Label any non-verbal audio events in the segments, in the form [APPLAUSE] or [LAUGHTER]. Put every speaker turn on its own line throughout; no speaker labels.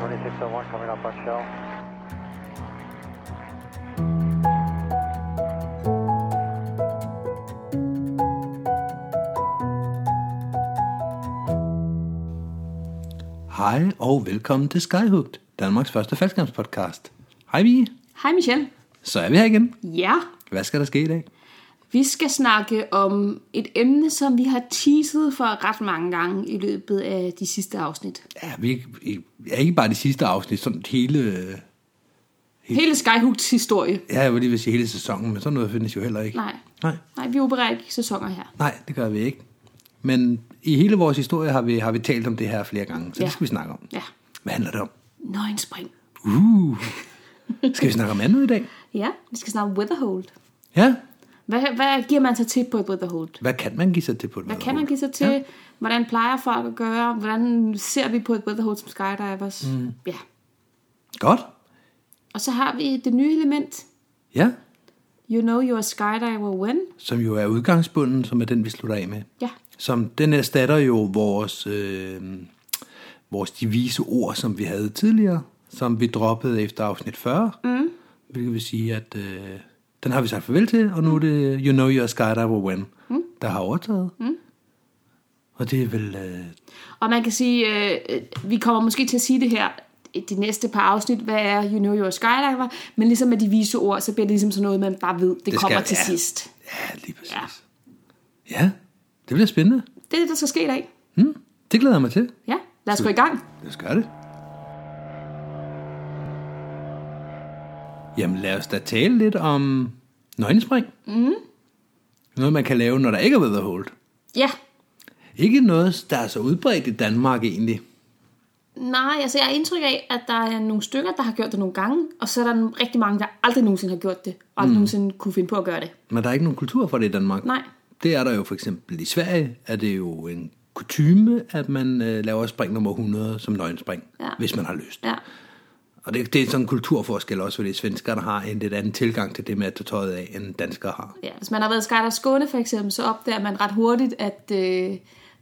2601 coming up on shell.
Hej og velkommen til Skyhugt, Danmarks første faldskærmspodcast. Hej vi,
Hej Michelle.
så er vi her igen.
Ja,
Hvad skal der ske i dag?
vi skal snakke om et emne, som vi har teaset for ret mange gange i løbet af de sidste afsnit.
Ja, vi er ikke bare det sidste afsnit, sådan hele, øh,
Hele Skyhooks historie.
ja, jeg vil lige vil sige hele sæsonen, men sådan noget findes jo heller ikke.
Nej.
Nej,
Nej, vi opererer ikke i sæsoner her.
nej det gør vi ikke. Men i hele vores historie har vi, har vi talt om det her flere gange, så ja.
Ja.
det skal vi snakke om.
Ja.
Hvad handler det om?
Nøgenspring.
Uh, skal vi snakke om andet i dag?
Ja, vi skal snakke om Weatherhold.
Ja,
Hvad, hvad giver man sig til på et Weatherhold?
hvad kan man give sig til på et
Hvad kan
væddemål?
man give sig til? Ja. Hvordan plejer folk at gøre? Hvordan ser vi på et Weatherhold som skydivers? Mm. Ja.
Godt,
Og så har vi det nye element.
ja,
You know you're a skydiver when.
som jo er udgangsbunden, som er den, vi slutter af med.
Ja.
Som, den erstatter jo vores, øh, vores divise ord, som vi havde tidligere, som vi droppede efter afsnit 40. Mm. Hvilket vil sige, at øh, den har vi sagt farvel til, og nu er det You Know You're Skydiver When, mm. der har overtaget. Mm. Og det er vel... Øh,
Og man kan sige, øh, øh, vi kommer måske til at sige det her i de næste par afsnit, hvad er You Know You're a Skydiver, men ligesom med de vise ord, så bliver det ligesom sådan noget, man bare ved, det, det
skal-
kommer til
ja.
sidst.
ja, lige præcis.
Ja.
Ja. ja, det bliver spændende.
Det er det, der skal ske i dag.
Mm. Det glæder jeg mig til.
Ja, lad os gå i gang.
Lad os gøre det. Jamen lad os da tale lidt om nøgenspring. Mm.
Mm-hmm.
Noget man kan lave, når der ikke er weatherhold.
Ja,
Ikke noget, der er så udbredt i Danmark egentlig.
nej, altså jeg har indtryk af, at der er nogle stykker, der har gjort det nogle gange, og så er der rigtig mange, der aldrig nogensinde har gjort det, og aldrig mm. nogensinde kunne finde på at gøre det.
Men der er ikke nogen kultur for det i Danmark.
Nej.
Det er der jo for eksempel i Sverige, er det jo en kutyme, at man øh, laver spring nummer 100 som nøgenspring,
Ja.
hvis man har lyst.
Ja,
Og det, det er sådan en kulturforskel også, fordi svenskerne har en lidt anden tilgang til det med at tage tøjet af, end danskere har.
ja. hvis man har været skydiver Skåne for eksempel, så opdager man ret hurtigt, at øh,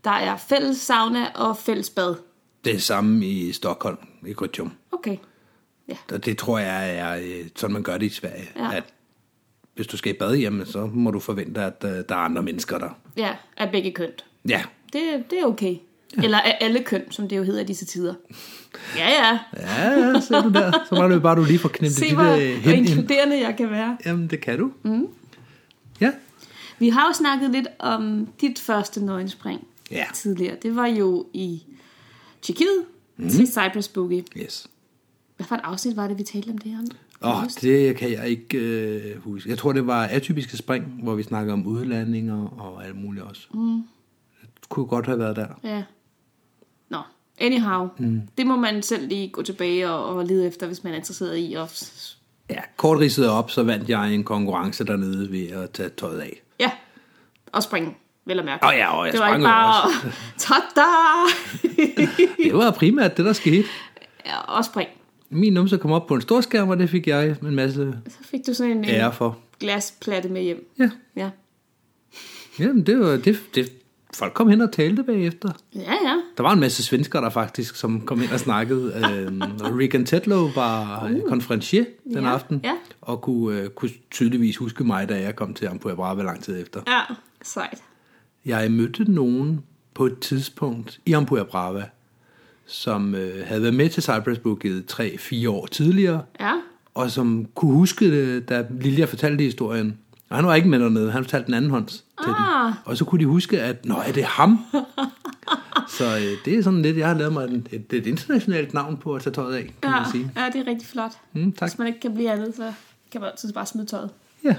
der er fælles sauna og fælles bad.
Det er samme i Stockholm, i Grytjum.
Okay.
Og det tror jeg er øh, sådan, man gør det i Sverige.
Ja.
At hvis du skal i bad hjemme, så må du forvente, at øh, der er andre mennesker der.
Ja, af begge køn.
Ja,
Det, det er okay. Ja. Eller af alle køn, som det jo hedder i disse tider. Ja, ja.
ja, ja ser du der. Så meget er det bare, du lige får knemt
Se,
det
hvor
lille
hvor
hen ind.
inkluderende jeg kan være.
Jamen, det kan du. Mm. Ja,
Vi har jo snakket lidt om dit første nøgenspring
Ja.
tidligere. Det var jo i Tjekkiet
Mhm.
mm. til Cypress Boogie.
yes.
Hvad for et afsnit var det, vi talte om det her?
Åh, oh, det kan jeg ikke øh, huske. Jeg tror, det var atypiske spring, hvor vi snakkede om udlandinger og alt muligt også. Mm. Det kunne godt have været der.
Ja. Nå, anyhow. Mm. Det må man selv lige gå tilbage og, og lede efter, hvis man er interesseret i. Og,
Ja, kort ridset op, så vandt jeg en konkurrence dernede ved at tage tøjet af.
ja, og springe, vel at mærke.
Åh ja, og jeg
det var
sprang
ikke
jo
bare... [LAUGHS]
også.
Tada!
Det var primært det, der skete.
[LAUGHS] Ja, og spring.
Min numse kom op på en stor skærm, og det fik jeg en masse
Så fik du sådan en, en
ære for.
glasplatte med hjem.
Ja,
Ja.
jamen det var, det, det, folk kom hen og talte bagefter.
Ja, ja.
Der var en masse svensker der faktisk, som kom hen og
[LAUGHS]
snakkede. øhm, og Regan Tedlow var uh. konferencier den
Ja,
aften,
ja.
og kunne, øh, kunne tydeligvis huske mig, da jeg kom til Ampua Brava lang tid efter.
Ja, sejt.
Jeg mødte nogen på et tidspunkt i Ampua Brava, som øh, havde været med til Cypress Booket 3-4 år tidligere,
Ja.
og som kunne huske det, da Lilja fortalte historien. Og han var ikke med dernede, han fortalte den anden hånds til
Ah.
den. Og så kunne de huske, at nå, er det
[LAUGHS]
ham? så øh, det er sådan lidt, jeg har lavet mig en- et, et internationalt navn på at tage tøjet af, kan
Ja,
man sige.
ja, det er rigtig flot.
Mm, tak.
Hvis man ikke kan blive andet, så kan man altid bare smide tøjet.
Ja.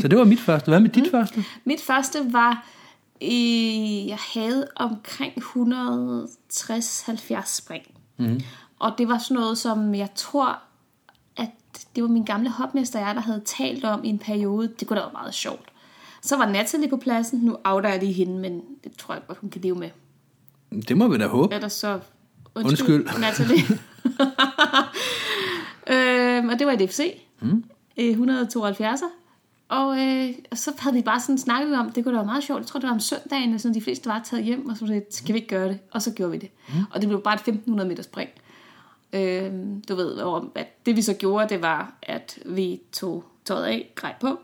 så det var mit første. Hvad med
Mm.
dit første?
Mit første var, øh, jeg havde omkring 160-70 spring. Mm. Og det var sådan noget, som jeg tror, at det var min gamle hopmester og jeg, der havde talt om i en periode. Det kunne da være meget sjovt. Så var Natalie på pladsen. Nu outer jeg lige hende, men det tror jeg godt, hun kan leve med.
Det må vi da håbe.
Ellers så...
Undskyld.
[LAUGHS] Natalie. Øh, øhm, og det var et FC. Mm. 172. Og, øh, og så havde vi bare sådan snakket om, det kunne da være meget sjovt. Jeg tror, det var om søndagen, og sådan, de fleste var taget hjem, og så var det, skal vi ikke gøre det? Og så gjorde vi det. Mm. Og det blev bare et 1500 meter spring. Øh, du ved, hvor, at det vi så gjorde, det var, at vi tog tøjet af, grej på,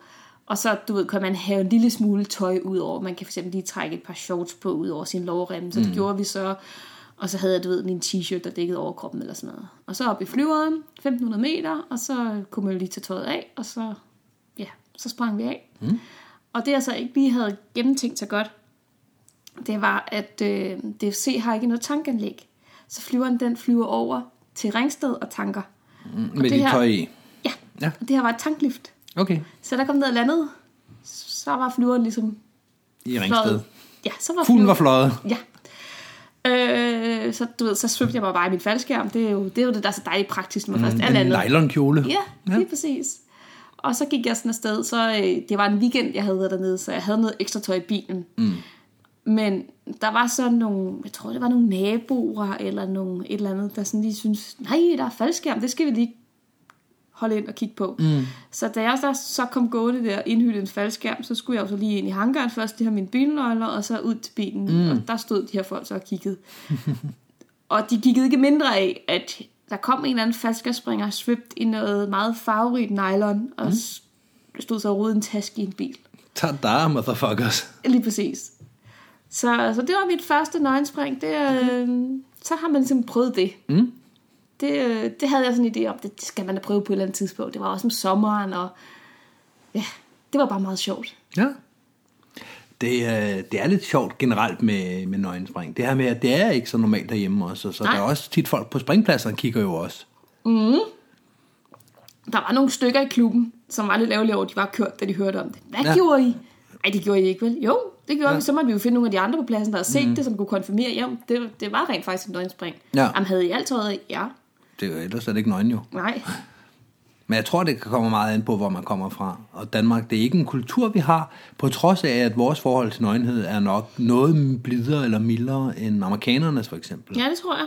og så, du ved, kan man have en lille smule tøj ud over. Man kan fx lige trække et par shorts på ud over sin lårremme. Så det mm. gjorde vi så. Og så havde jeg, du ved, en t-shirt, der dækkede over kroppen eller sådan noget. Og så op i flyveren, 1500 meter, og så kunne man lige tage tøjet af, og så, ja, så sprang vi af. Mm. Og det jeg så ikke lige havde gennemtænkt så godt, det var, at øh, DFC har ikke noget tankanlæg. Så flyveren den flyver over til Ringsted og tanker.
Mm,
og
Med
det
dit
her-
tøj i.
Ja,
Ja.
og det her var et tanklift.
Okay.
Så der kom ned og landede, så var flyveren ligesom
I Ringsted.
fløjet. Ja, så var
Fuglen
flyveren-
var fløjet.
Ja. Øh, så du ved, så svømte jeg mig bare i min faldskærm. Det er jo det, er jo det der er så dejligt praktisk, når man først er
En
landet.
nylonkjole.
Ja, lige præcis. Og så gik jeg sådan afsted, så øh, det var en weekend, jeg havde været dernede, så jeg havde noget ekstra tøj i bilen. Mm. Men der var så nogle, jeg tror det var nogle naboer eller nogle et eller andet, der sådan lige syntes, nej, der er faldskærm, det skal vi lige holde ind og kigge på. Mm. Så da jeg så, så kom gående der, indhyldet i en faldskærm, så skulle jeg jo så lige ind i hangaren først, lige have mine bilnøgler, og så ud til bilen, mm. og der stod de her folk så og kiggede. Og de kiggede ikke mindre af, at der kom en eller anden falskerspringer svøbt i noget meget farverigt nylon, og s- stod så og rodede en taske i en bil.
Tada, motherfuckers.
Lige præcis. Så, så det var mit første nøgenspring. Det, øh, så har man ligesom prøvet det.
Mm.
Det, øh, det havde jeg sådan en idé om, det skal man da prøve på et eller andet tidspunkt. Det var også om sommeren, og ja, det var bare meget sjovt.
Ja. Det, er- det er lidt sjovt generelt med, med nøgenspring. Det her med, at det er ikke så normalt derhjemme også, så
Nej.
der er også tit folk på springpladserne kigger jo også.
Der var nogle stykker i klubben, som var lidt ærgerlige over, at de var kørt, da de hørte om det. Hvad
Ja.
ja. gjorde I? Ej, det gjorde I ikke, vel? Jo, det gjorde ja. vi. Så måtte vi jo finde nogle af de andre på pladsen, der havde set mm. det, som kunne konfirmere. Jamen, det, det var rent faktisk et nøgenspring.
Ja.
Jamen, havde I alt tøjet? af? Ja.
Det, er jo- ellers er det ikke nøgen jo.
Nej.
Men jeg tror, det kan komme meget an på, hvor man kommer fra. Og Danmark, det er ikke en kultur, vi har, på trods af, at vores forhold til nøgenhed er nok noget blidere eller mildere end amerikanernes, for eksempel.
Ja, det tror jeg.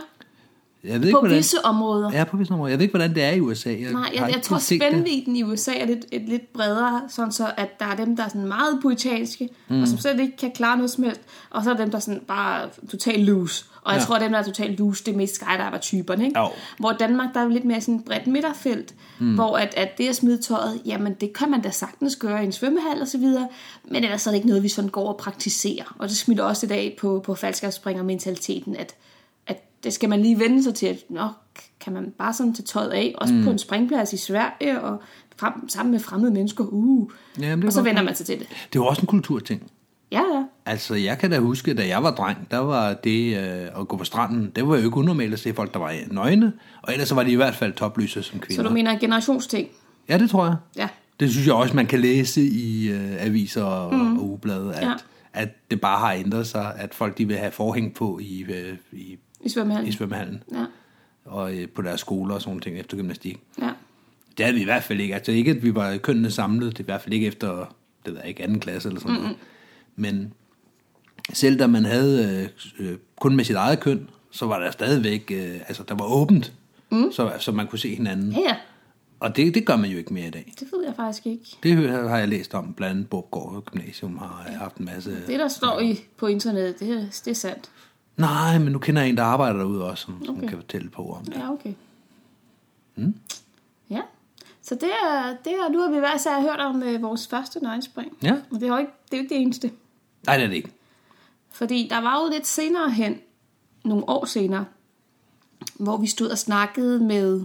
Jeg ved ikke,
På
hvordan...
visse områder.
Ja, på visse områder. Jeg ved ikke, hvordan det er i USA. Jeg
Nej,
har
jeg,
ikke
jeg tror,
set det.
spændvidden i USA er lidt, et lidt bredere, sådan så at der er dem, der er sådan meget puritanske, mm. og som slet ikke kan klare noget som helst, og så er dem, der er sådan bare totalt loose. Og jeg
Ja.
ja. tror, at dem, der er totalt loose, det er mest skydiver-typerne, ikke?
Jo.
Hvor i Danmark, der er jo lidt mere sådan et bredt midterfelt, mm. hvor at, at det at smide tøjet, jamen det kan man da sagtens gøre i en svømmehal og så videre, men ellers er det ikke noget, vi sådan går og praktiserer. Og det smitter også i dag på, på mentaliteten, at, at det skal man lige vende sig til, at nå, kan man bare sådan tage tøjet af, også mm. på en springplads i Sverige, og frem, sammen med fremmede mennesker, uh.
Jamen, det er
og så
godt.
vender man sig til det.
Det er jo også en kulturting.
Ja, ja.
Altså, jeg kan da huske, da jeg var dreng, der var det øh, at gå på stranden, det var jo ikke unormalt at se folk, der var nøgne, og ellers så var de i hvert fald topløse som
Så
kvinder.
du mener generationsting?
Ja, det tror jeg.
Ja.
Det synes jeg også, man kan læse i øh, aviser og, mm. og ugeblade, at, ja.
Mhm. Ja.
at det bare har ændret sig, at folk de vil have forhæng på i, øh, i,
I svømmehallen?
i svømmehallen
Ja,
og øh, på deres skoler og sådan nogle ting efter gymnastik.
ja.
Det havde vi i hvert fald ikke. Altså ikke, at vi var kønnene samlet. Det er i hvert fald ikke efter, det ved jeg ikke, anden klasse eller sådan mm-hmm. noget. Men selv da man havde øh, øh, kun med sit eget køn, så var der stadigvæk, øh, altså der var åbent, mm. så, så man kunne se hinanden.
Ja, ja.
Og det, det gør man jo ikke mere i dag.
Det ved jeg faktisk ikke.
Det hø- har jeg læst om, blandt andet Bobgård Gymnasium har øh, haft en masse...
Det, der står i, på internettet, det, er- det er sandt.
Nej, men nu kender jeg en, der arbejder derude også, som, som
Okay.
kan fortælle på om det.
Ja, okay. Mm. Ja. Så det er, det er, nu har vi hver især hørt om øh, vores første nøgenspring.
Ja.
Og det er, jo ikke, det er jo ikke det eneste.
Nej, det er det ikke.
Fordi der var jo lidt senere hen, nogle år senere, hvor vi stod og snakkede med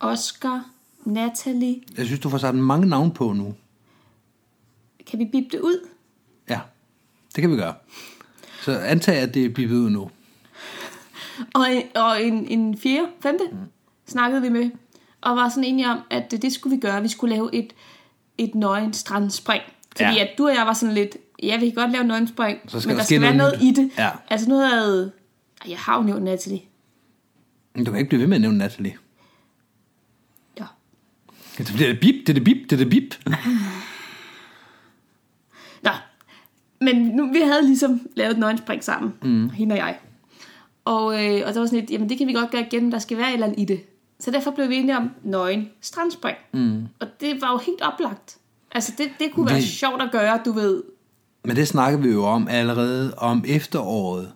Oscar, Natalie.
Jeg synes, du får sat mange navne på nu.
Kan vi bippe det ud?
Ja, det kan vi gøre. Så antag, at det er bippet ud nu.
Og, en- og en, en fjerde, femte, mm. snakkede vi med, og var sådan enige om, at det, det skulle vi gøre. Vi skulle lave et, et nøgen strandspring. Fordi
Ja.
ja. at du og jeg var sådan lidt, ja, vi kan godt lave nøgenspring,
Så skal
men
der
der
ske
skal være
noget
noget i
nyt.
det.
Ja.
Altså nu havde... Ej, Jeg har jo nævnt Natalie.
Men Du kan ikke blive ved med at nævne Natalie.
Ja.
Det bliver det bip, det er det bip, det er det bip.
Nå, men nu, vi havde ligesom lavet et nøgenspring sammen, mm. hende og jeg. Og, øh, og så var sådan lidt, jamen det kan vi godt gøre igen, men der skal være et eller andet i det. Så derfor blev vi enige om nøgen strandspring. Mm. Og det var jo helt oplagt. Altså, det, det kunne være
Vi-
sjovt at gøre, du ved.
Men det snakkede vi jo om allerede om efteråret,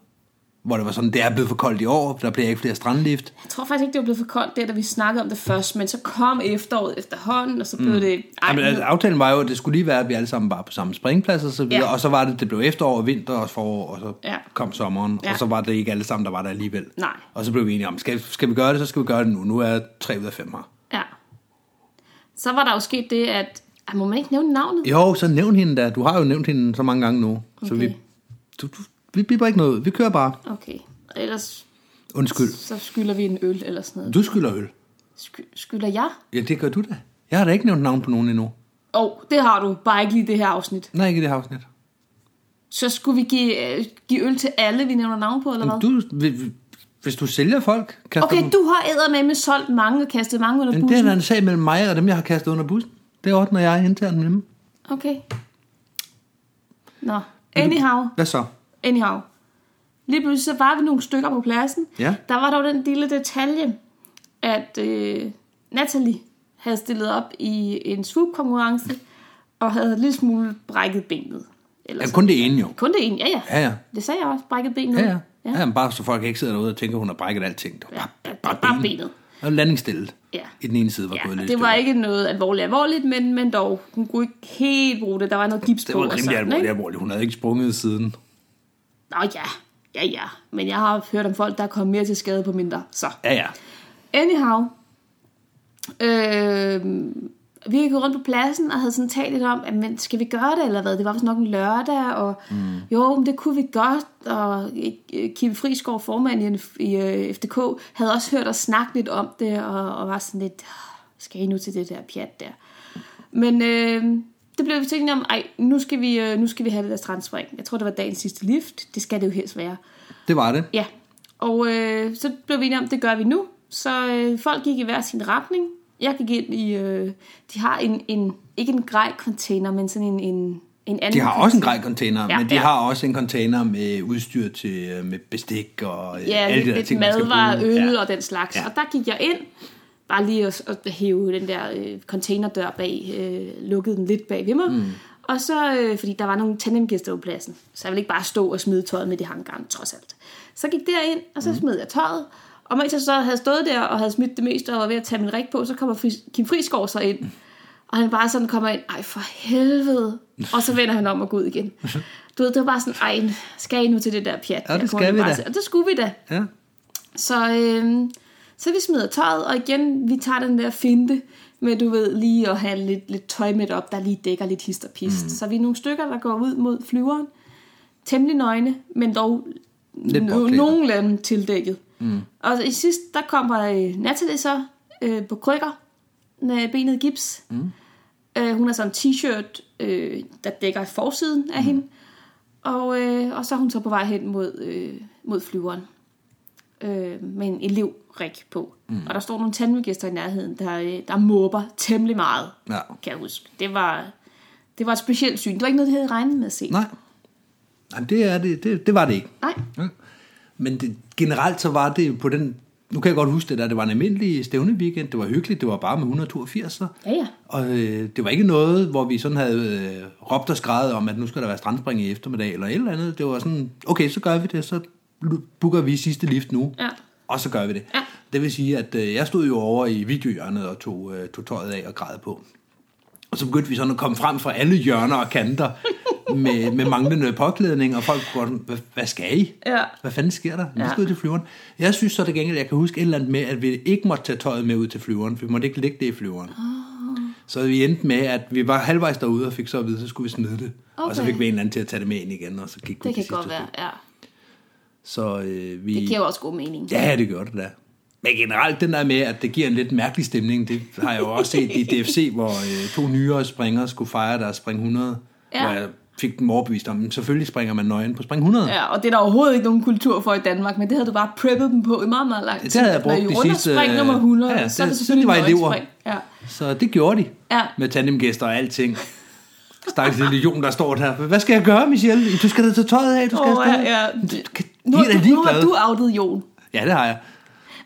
hvor det var sådan, det er blevet for koldt i år, der bliver ikke flere strandlift.
Jeg tror faktisk ikke, det var blevet for koldt, der da vi snakkede om det først, men så kom efteråret efterhånden, og så blev mm. det... Ej,
Jamen, altså, aftalen var jo, at det skulle lige være, at vi alle sammen var på samme springplads og så videre,
Ja.
ja. og så var det, det blev efterår og vinter og forår, og så
Ja.
ja. kom sommeren,
Ja.
ja. og så var det ikke alle sammen, der var der alligevel.
Nej.
Og så blev vi enige om, skal, skal vi gøre det, så skal vi gøre det nu. Nu er 3 ud af 5 her.
ja. Så var der jo sket det, at... Ej, må man ikke nævne navnet?
Jo, så nævn hende da. Du har jo nævnt hende så mange gange nu. Okay. Så
Okay.
vi, du, du, vi biber ikke noget. ud. Vi kører bare.
Okay. Ellers
Undskyld.
så skylder vi en øl eller sådan noget.
Du skylder øl.
Sky- skylder jeg?
Ja, det gør du da. Jeg har da ikke nævnt navn på nogen endnu.
Åh, oh, det har du. Bare ikke lige det her afsnit.
Nej, ikke i det her afsnit.
Så skulle vi give, øh, give øl til alle, vi nævner navn på, eller hvad?
Du, vi- vi- hvis du sælger folk, kaster
Okay,
dem-
du har eddermame solgt mange og kastet mange under
Men det er
bussen.
da en sag mellem mig og dem, jeg har kastet under bussen. Det ordner jeg internt med dem.
Okay. Nå, anyhow,
Hvad så?
anyhow. Lige pludselig så var vi nogle stykker på pladsen.
Ja.
Der var dog den lille detalje, at øh, Natalie havde stillet op i en swoop-konkurrence, og havde en lille smule brækket benet. Eller
Ja,
sådan.
kun det ene jo.
kun det ene, ja, ja
Ja, ja.
Det sagde jeg også, brækket benet.
Ja, ja. ja. ja men bare så folk ikke sidder derude og tænker, hun har brækket alting. Det var bare,
Ja,
bare,
bare
bare
benet.
benet. Og landingsstillet.
Ja.
I den ene side var
Ja,
gået
og
lidt
det
i
var
stykker.
ikke noget alvorligt alvorligt, men, men dog, hun kunne ikke helt bruge det. Der var noget gips
Det
på.
var
og
rimelig
sådan,
alvorligt,
ikke?
alvorligt. Hun havde ikke sprunget siden.
Nå ja, ja ja. Men jeg har hørt om folk, der er kommet mere til skade på mindre. Så,
Ja, ja.
anyhow. Øh, vi gik rundt på pladsen og havde sådan talt lidt om, at, men skal vi gøre det eller hvad? Det var vist nok en lørdag, og mm. jo, men det kunne vi godt. Og øh, Kim Friisgaard, formand i, NF i øh, FDK, havde også hørt os snakke lidt om det, og, og var sådan lidt, "Ah, skal I nu til det der pjat der? Men øh, det blev vi tænkt om, ej, nu skal, vi, øh, nu skal vi have det der strandspring. Jeg tror, det var dagens sidste lift. Det skal det jo helst være.
Det var det.
Ja, og øh, så blev vi enige om, det gør vi nu. Så øh, folk gik i hver sin retning. Jeg gik ind i... Øh, de har en, en, ikke en grej container, men sådan en, en, en anden...
De har også en grej container,
Ja,
ja, men de
ja.
ja. har også en container med udstyr til øh, med bestik og øh,
Ja,
alle
lidt,
de der
lidt
ting, man skal
madvarer,
bruge.
øl
Ja.
ja. og den slags. Ja.
Ja.
Og der gik jeg ind, bare lige at, at hæve den der øh, containerdør bag, øh, lukkede den lidt bag ved mig. Mm. Og så, øh, fordi der var nogle tandemgæster på pladsen, så jeg ville ikke bare stå og smide tøjet med i hangaren, trods alt. Så gik derind, og så mm. smed jeg tøjet. Og mens jeg så havde stået der og havde smidt det meste og var ved at tage min rig på, så kommer Fri- Kim Friisgaard så ind. Og han bare sådan kommer ind, ej for helvede. Og så vender han om og går ud
[LAUGHS]
igen. Du ved, det var bare sådan, ej, skal I nu til det der pjat?
Ja, det
Jeg kommer
skal
nu
vi
bare
da.
til- Og det skulle vi da.
Ja.
Så, øh, så vi smider tøjet, og igen, vi tager den der finte med, du ved, lige at have lidt, lidt tøj med op, der lige dækker lidt hist og pist. Mm. Så vi er nogle stykker, der går ud mod flyveren, temmelig nøgne, men dog
Lidt
no-
påklædt.
nogenlunde tildækket. Mm. Og i sidst, der kommer øh, Natalie så øh, på krykker med benet i gips. Mm. Øh, hun har sådan en t-shirt, øh, der dækker forsiden af mm. hende. Og, øh, og så er hun så på vej hen mod, øh, mod flyveren øh, med en elevrik på. Mm. Og der står nogle tandemgæster i nærheden, der, øh, der måber temmelig meget,
Ja.
kan jeg huske. Det var, det var et specielt syn. Det var ikke noget, jeg havde regnet med at se.
Nej. Jamen, det, er det, det, det var det ikke.
Nej.
Ja. Men det, generelt så var det på den... Nu kan jeg godt huske det, at det var en almindelig stævneweekend. Det var hyggeligt. Det var bare med 182.
Ja, ja.
Og øh, det var ikke noget, hvor vi sådan havde øh, råbt og skrevet om, at nu skal der være strandspring i eftermiddag eller et eller andet. Det var sådan, okay, så gør vi det. Så booker vi sidste lift nu.
Ja.
Og så gør vi det.
Ja.
Det vil sige, at øh, jeg stod jo over i videohjørnet og tog, øh, tog tøjet af og græd på. Og så begyndte vi sådan at komme frem fra alle hjørner og kanter med, med manglende påklædning, og folk går sådan, "Hvad- hvad skal I?
Ja.
Hvad fanden sker der? Vi
Ja.
skal ud til flyveren. Jeg synes så til gengæld, jeg kan huske et eller andet med, at vi ikke måtte tage tøjet med ud til flyveren, for vi måtte ikke lægge det i flyveren. Oh.
Ah.
Så vi endte med, at vi var halvvejs derude og fik så at vide, så skulle vi smide det. Okay. Og så
Okay.
fik vi en eller anden til at tage det med ind igen, og så gik vi
Det kan
til
godt
sidste
være, ja.
Så øh, vi...
Det giver jo også god mening.
Ja, det gør det da. Men generelt, den der med, at det giver en lidt mærkelig stemning, det har jeg jo også set i
[LAUGHS]
DFC, hvor øh, to nyere springere skulle fejre deres spring 100.
Ja.
Ja. Hvor jeg fik dem overbevist om, at selvfølgelig springer man nøgen på spring 100. Ja.
Ja, og det er der overhovedet ikke nogen kultur for i Danmark, men det havde du bare preppet dem på i meget, meget lang tid.
Det havde jeg brugt
Når I
de
runder
sidste,
spring
øh,
nummer 100,
ja, ja,
så er det
det-
selvfølgelig
siden de var elever.
nøgenspring. Ja.
Så det gjorde de.
Ja.
Med tandemgæster og alting. Stakkels lille Jon, der står der. Hvad skal jeg gøre, Michelle? Du skal da tage tøjet af. Du skal
Åh,
oh,
ja, ja.
Du, kan,
Nu,
de er da
nu har
ligeglade.
du outet, Jon.
Ja, det har jeg.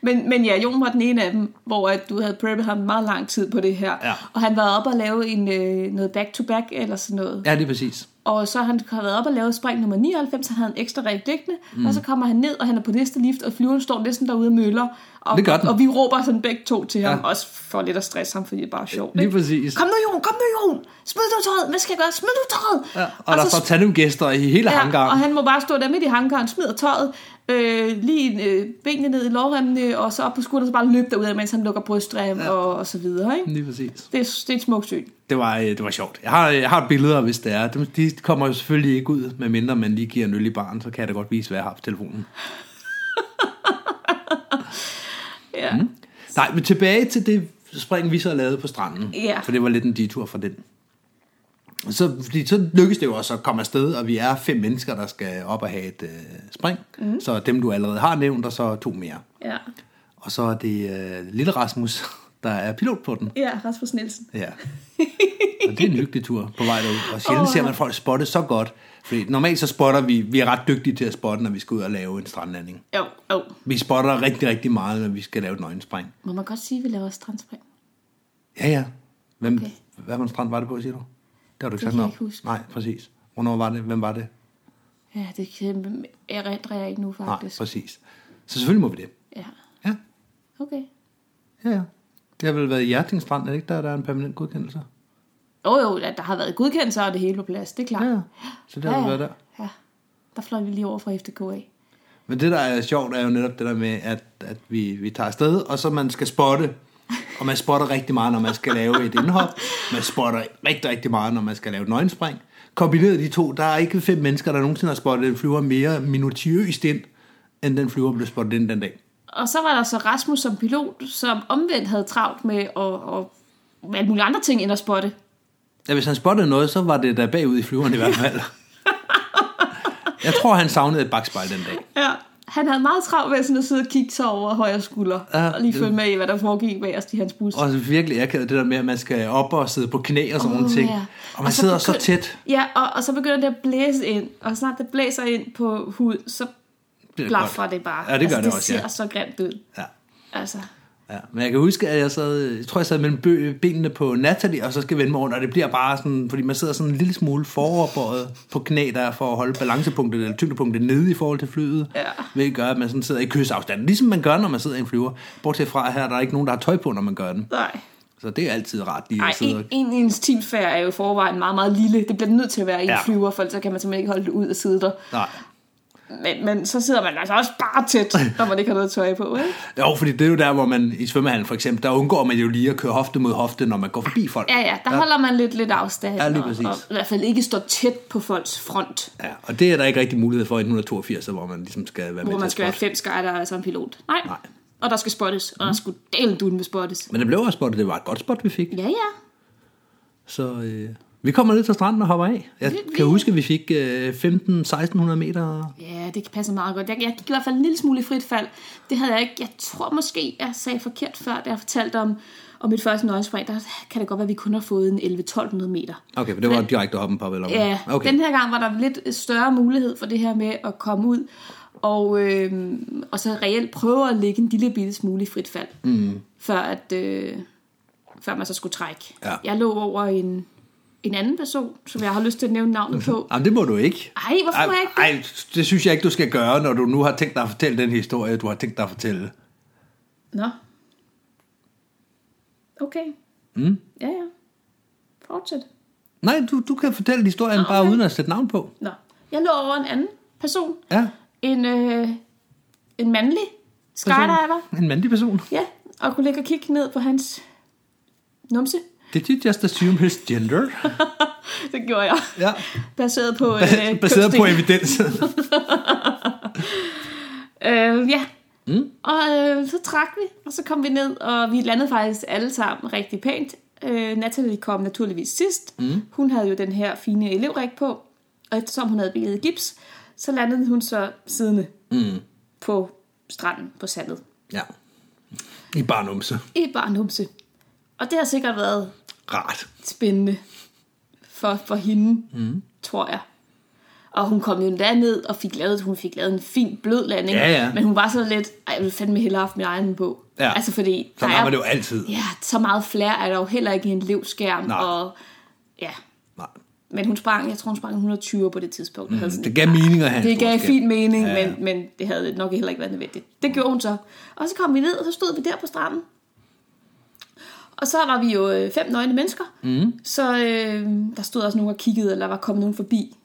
Men, men ja, Jon var den ene af dem, hvor at du havde preppet ham meget lang tid på det her.
Ja.
Og han var oppe og lave en, øh, noget back-to-back eller sådan noget.
Ja, det er præcis.
Og så har han har været op og lavet spring nummer 99, så havde han ekstra reagdækkende, mm. og så kommer han ned, og han er på næste lift, og flyveren står næsten derude og møller. Og,
Det gør den.
og vi råber sådan begge to til ham,
Ja.
også for lidt at stresse ham, fordi det er bare sjovt.
Lige
ikke?
præcis.
Kom nu, Jon, kom nu, Jon! Smid nu tøjet! Hvad skal jeg gøre? Smid nu tøjet!
Ja, og, og der
så
står tandemgæster i hele ja,
og
hangaren.
han må bare stå der midt i hangaren, smider tøjet, øh, lige øh, benene ned i lårremmene, og så op på skulderen, og så bare løb derud, mens han lukker brystrem ja. og, og så videre. Ikke?
Lige præcis.
Det, er, det er et smukt syn.
Det var, øh, det var sjovt. Jeg har, jeg har billeder, hvis det er. De, de kommer jo selvfølgelig ikke ud, medmindre man lige giver en øl i barn, så kan jeg da godt vise, hvad jeg har på telefonen.
Ja. Mm.
Nej, men tilbage til det spring, vi så lavede på stranden.
Ja.
For det var lidt en detur fra den. Så, fordi så lykkedes det jo også at komme afsted, og vi er fem mennesker, der skal op og have et øh, spring. Mm. Så dem, du allerede har nævnt, og så to mere.
ja.
Og så er det øh, lille Rasmus, der er pilot på den.
Ja, Rasmus Nielsen. [LAUGHS]
Ja. Og det er en hyggelig tur på vej derud. Og sjældent ser man folk spotte så godt. Fordi normalt så spotter vi, vi er ret dygtige til at spotte, når vi skal ud og lave en strandlanding.
Jo, jo.
Vi spotter rigtig, rigtig meget, når vi skal lave et nøgenspring.
Må man godt sige, at vi laver strandspring?
Ja, ja. Hvem, okay.
Okay.
Hvad for en strand var det på, siger du? Det har du ikke sagt
Det kan jeg
noget
ikke huske.
Nej, præcis. Hvornår var det? Hvem var det?
Ja, det kan jeg erindrer jeg ikke nu,
Nej,
faktisk.
præcis. Så selvfølgelig må vi det.
Ja,
Ja,
okay.
ja, ja. Det har vel været i Hjerting Strand, er det ikke der, der er en permanent godkendelse?
Ah. Jo, jo, at der har været godkendelser, og det hele på plads, det er klart.
Ja, ja. Så det har vel været der.
Ja, der fløj vi lige over fra FDK af.
Men det, der er sjovt, er jo netop det der med, at, at vi, vi tager afsted, og så man skal spotte. Og man spotter rigtig meget, når man skal lave et indhop. Man spotter rigtig, rigtig meget, når man skal lave et nøgenspring. Kombineret de to, der er ikke fem mennesker, der nogensinde har spottet en flyver mere minutiøst ind, end den flyver blev spottet ind den dag.
Og så var der så Rasmus som pilot, som omvendt havde travlt med at, og alle mulige andre ting end at spotte.
Ja, hvis han spottede noget, så var det der bagud i flyveren i hvert fald. Jeg tror, han savnede et bagspejl den dag.
Ja. Han havde meget travlt med sådan at sidde og kigge sig over højre skulder,
Ja,
ja, og lige
det-
følge med i, hvad der foregik bagerst i hans bus.
Og virkelig akavet det der med, at man skal op og sidde på knæ og sådan nogle
Åh,
ting.
ja.
Og man sidder så
begynd-
tæt.
Ja, og, og så begynder det at blæse ind, og snart det blæser ind på hud, så
Det er
blaffer
godt.
det bare.
Ja, det gør
altså,
det
det
også,
ser
ja.
så grimt ud.
Ja.
Altså,
Ja, men jeg kan huske, at jeg sad, jeg tror, jeg sad mellem bø- benene på Natalie, og så skal vende mig rundt, og det bliver bare sådan, fordi man sidder sådan en lille smule foroverbøjet på knæ, der er for at holde balancepunktet eller tyngdepunktet nede i forhold til flyet,
Ja.
hvilket gør, at man sådan sidder i kysafstand, ligesom man gør, når man sidder i en flyver. Bortset fra her, der er ikke nogen, der har tøj på, når man gør den.
nej.
Så det er altid rart lige
Ej,
at sidde og
en, en intimsfære er jo i forvejen meget, meget lille. Det bliver den nødt til at være i en
Ja.
ja. flyver, for ellers så kan man simpelthen ikke holde det ud og sidde der.
Nej.
Men, men så sidder man altså også bare tæt, når man ikke har noget tøj på, ikke?
Jo, fordi det er jo der, hvor man i svømmehallen for eksempel, der undgår man jo lige at køre hofte mod hofte, når man går forbi folk.
Ja, ja, der ja. holder man lidt, lidt afstand.
Ja, lige
og-
præcis.
Og, i hvert fald ikke står tæt på folks front,
ja. og det er der ikke rigtig mulighed for i 182, hvor man ligesom skal være med
hvor
til
man
at
skal være
spotte.
fem skejder og så en pilot. Nej. Mm.
Nej.
Og der skal spottes, og der skulle delen duen med spottes.
Men det blev også spottet, det var et godt spot, vi fik.
Ja, ja.
Så øh, vi kommer ned til stranden og hopper af. Jeg
Vi-
kan
vi-
huske, at vi fik øh, 15-1600 meter.
Ja, det passer meget godt. Jeg, jeg gik i hvert fald en lille smule i frit fald. Det havde jeg ikke. Jeg tror måske, jeg sagde forkert før, da jeg fortalte om, om mit første nøgenspring. Der kan det godt være, at vi kun har fået en 11-1200 meter.
Okay, for det var direkte hoppen på, eller hvad?
Ja,
okay.
den her gang var der lidt større mulighed for det her med at komme ud og, øh, og så reelt prøve at ligge en lille bitte smule i frit fald,
Mhm.
mm. før, at, øh, før man så skulle trække.
Ja.
Jeg lå over en, en anden person, som jeg har lyst til at nævne navnet på.
Jamen, det må du ikke.
Ej, hvorfor må jeg ikke det?
ej, ej, det synes jeg ikke, du skal gøre, når du nu har tænkt dig at fortælle den historie, du har tænkt dig at fortælle.
Nå. Okay.
Mhm.
Mm. Ja, ja. Fortsæt.
Nej, du, du kan fortælle historien okay. bare uden at sætte navn på.
Nå. Jeg lå over en anden person.
Ja,
En, øh, en mandlig skydiver.
person. En mandlig person.
Ja, og kunne ligge og kigge ned på hans numse.
Did you just assume his gender?
Det gjorde jeg.
Ja,
Baseret på... Øh,
[LAUGHS] baseret på
kønsdel.
evidens.
Øh, ja. Mm. Og øh, så trak vi, og så kom vi ned, og vi landede faktisk alle sammen rigtig pænt. Øh, Natalie kom naturligvis sidst. Mm. Hun havde jo den her fine elevræk på, og eftersom hun havde billedet gips, så landede hun så siddende
mm.
på stranden på sandet.
Ja. I bare numse.
I bare en humse. Og det har sikkert været
Rart.
spændende for, for hende, mm. tror jeg. Og hun kom jo endda ned og fik lavet, hun fik lavet en fin blød landing.
Ja, ja.
Men hun var så lidt, ej, jeg ville fandme hellere have haft min egen bog.
Ja.
Altså fordi,
Sådan
der
har
er-
man det jo altid.
Ja, så meget flere er der jo heller ikke i en levskærm.
Nej.
Og, ja.
Nej.
Men hun sprang, jeg tror hun sprang 120 på det tidspunkt. Mm,
Det gav mening at have en
det
stor
gav
skærm.
fin mening,
Ja.
ja. men, men det havde nok heller ikke været nødvendigt. Det gjorde hun så. Og så kom vi ned, og så stod vi der på stranden. Og så var vi jo øh, fem nøgne mennesker. Mm. Så øh, der stod også nogen og kiggede, eller var kommet nogen forbi.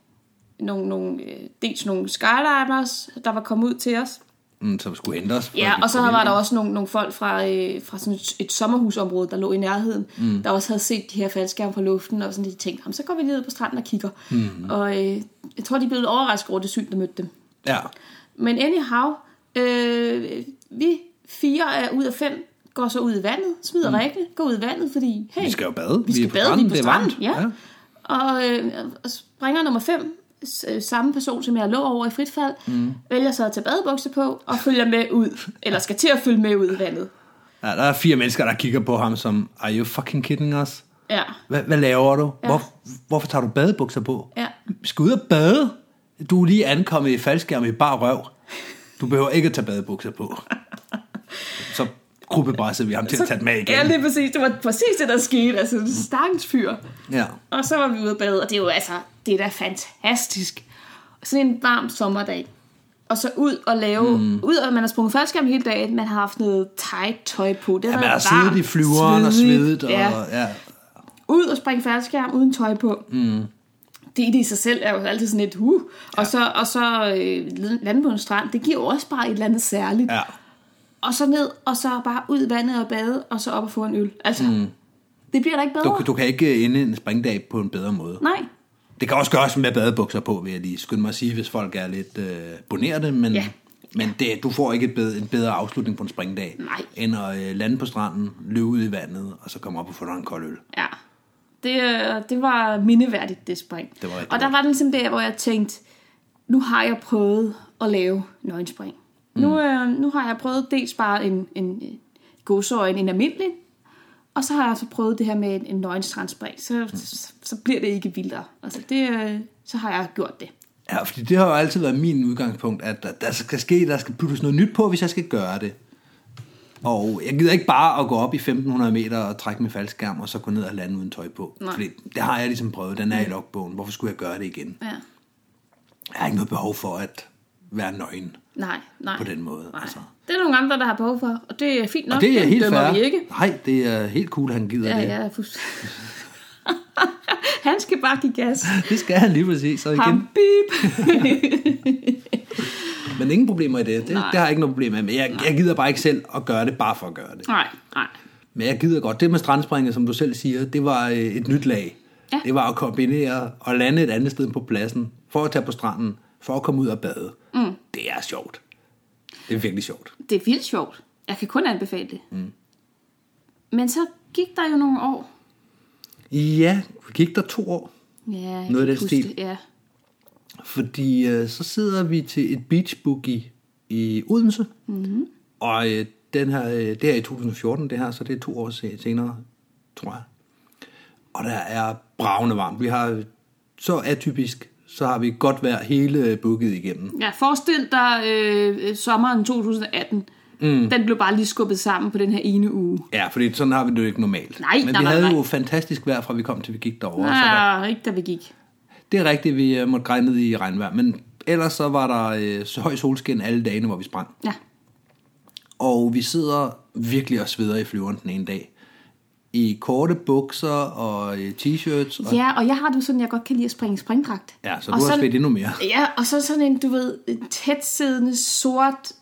Nogle, nogle, øh, dels nogle skydivers, der var kommet ud til os.
Mm, som skulle ændres. for
Ja,
at vi
og så
kunne
var der
hjælpe.
også nogle, nogle folk fra, øh, fra sådan et, et sommerhusområde, der lå i nærheden, mm. der også havde set de her faldskærme fra luften, og sådan de tænkte, "Jamen, så går vi ned på stranden og kigger. Mm. Og øh, jeg tror, de blev lidt overrasket over det syn, der mødte dem.
Ja,
Men anyhow, øh, vi fire er ud af fem går så ud i vandet, smider mm. rækkene, går ud i vandet, fordi hey,
vi skal jo bade.
vi skal
er på
bade,
stranden,
vi er på stranden.
Det er varmt.
Ja. Og, øh, og springer nummer 5, samme person, som jeg lå over i fritfald, mm. vælger så at tage badebukser på og følger med ud, eller skal til at følge med ud i vandet.
Ja. ja. der er fire mennesker, der kigger på ham som, are you fucking kidding us?
Ja,
Hvad, hvad laver du? Ja. Hvor, hvorfor tager du badebukser på?
Ja.
Vi skal ud og bade. Du er lige ankommet i faldskærm i bar røv. Du behøver ikke at tage badebukser
[LAUGHS]
på. Så gruppebræssede vi ham til at tage dem af igen.
ja lige præcis. Det var præcis det, der skete. Altså, stakkens fyr.
Ja.
Og så var vi ude at bade, og det er jo altså, det er da fantastisk. Sådan en varm sommerdag. Og så ud og lave, mm. ud og man har sprunget faldskærm hele dagen, man har haft noget tight tøj på. Det
Ja,
har
man
været
har siddet i
varmt,
flyveren og svedet. Og,
Ja.
ja.
Ud og springe faldskærm uden tøj på. Mm. Det i det i sig selv er jo altid sådan et huh. Ja. Og så, og så øh, lande på en strand, det giver jo også bare et eller andet særligt.
ja.
Og så ned, og så bare ud i vandet og bade, og så op og få en øl. Altså, mm. det bliver da ikke bedre.
Du, du kan ikke ende en springdag på en bedre måde.
Nej,
Det kan også gøres med badebukser på, vil jeg lige skynde mig at sige, hvis folk er lidt øh, bonerte, men,
Ja.
men det, du får ikke et bedre, en bedre afslutning på en springdag,
Nej.
end at øh, lande på stranden, løbe ud i vandet, og så komme op og få dig en kold øl.
Ja. Det, øh, det var mindeværdigt, det spring.
Det var rigtig
og der
godt.
var den ligesom der, hvor jeg tænkte, nu har jeg prøvet at lave nøgenspring. Mm. Nu, øh, nu har jeg prøvet dels bare en, en øh, godsøjne, en almindelig, og så har jeg så prøvet det her med en, en nøgenstrandspring. Så, mm. så, så bliver det ikke vildere. Altså det, øh, så har jeg gjort det.
Ja, fordi det har jo altid været min udgangspunkt, at der, der skal ske, der skal puttes noget nyt på, hvis jeg skal gøre det. Og jeg gider ikke bare at gå op i 1500 meter og trække min faldskærm, og så gå ned og lande uden tøj på.
Nej. Mm.
Fordi det har jeg ligesom prøvet, den er i logbogen, hvorfor skulle jeg gøre det igen?
Ja.
Jeg har ikke noget behov for at være nøgen.
Nej, nej.
På den måde,
Nej.
altså.
Det er nogle andre, der har behov for, og det er fint nok.
Og det er
Dem
helt
dømmer
fair.
vi ikke.
Nej, det er helt cool, han gider
Ja,
det.
ja, fuldstændig. [LAUGHS] Han skal bare give gas.
[LAUGHS] Det skal han lige præcis. Så igen.
Ham,
[LAUGHS]
beep.
Men ingen problemer i det. Det, det
Nej.
har jeg ikke noget problem med. Men jeg, jeg gider bare ikke selv at gøre det, bare for at gøre det.
Nej, nej.
Men jeg gider godt. Det med strandspringet, som du selv siger, det var øh, et nyt lag.
Ja.
Det var at kombinere og lande et andet sted end på pladsen, for at tage på stranden, for at komme ud og bade. Mm. Det er sjovt. Det er virkelig sjovt.
Det er vildt sjovt. Jeg kan kun anbefale det. Mm. Men så gik der jo nogle år.
Ja, vi gik der to år.
Ja,
Noget
jeg kan
af
ikke
den
huske
stil.
det. Ja.
Fordi øh, så sidder vi til et beach boogie i Odense.
Mhm.
Mm-hmm. Og øh, den her, øh, det er i 2014, det her, så det er to år se- senere, tror jeg. Og der er bravende varmt. Vi har så atypisk, så har vi godt vejr hele booket igennem.
ja, forestil dig øh, øh, sommeren 2018. Mm. Den blev bare lige skubbet sammen på den her ene uge.
Ja, fordi sådan har vi det jo ikke normalt.
Nej,
Men
nej,
vi
nej,
havde
nej. Ah.
jo fantastisk vejr, fra vi kom til vi gik derover. Så der,
Nej, ikke da vi gik.
det er rigtigt, vi øh, måtte greje ned i regnvejr. Men ellers så var der øh, så høj solskin alle dagene, hvor vi sprang.
Ja.
Og vi sidder virkelig og sveder i flyveren den ene dag. I korte bukser og øh, t-shirts. Og,
ja, og jeg har det jo sådan, jeg godt kan lide at springe springdragt.
ja, så
Og
du har svedt endnu mere.
Ja, og så sådan en, du ved, tætsiddende sort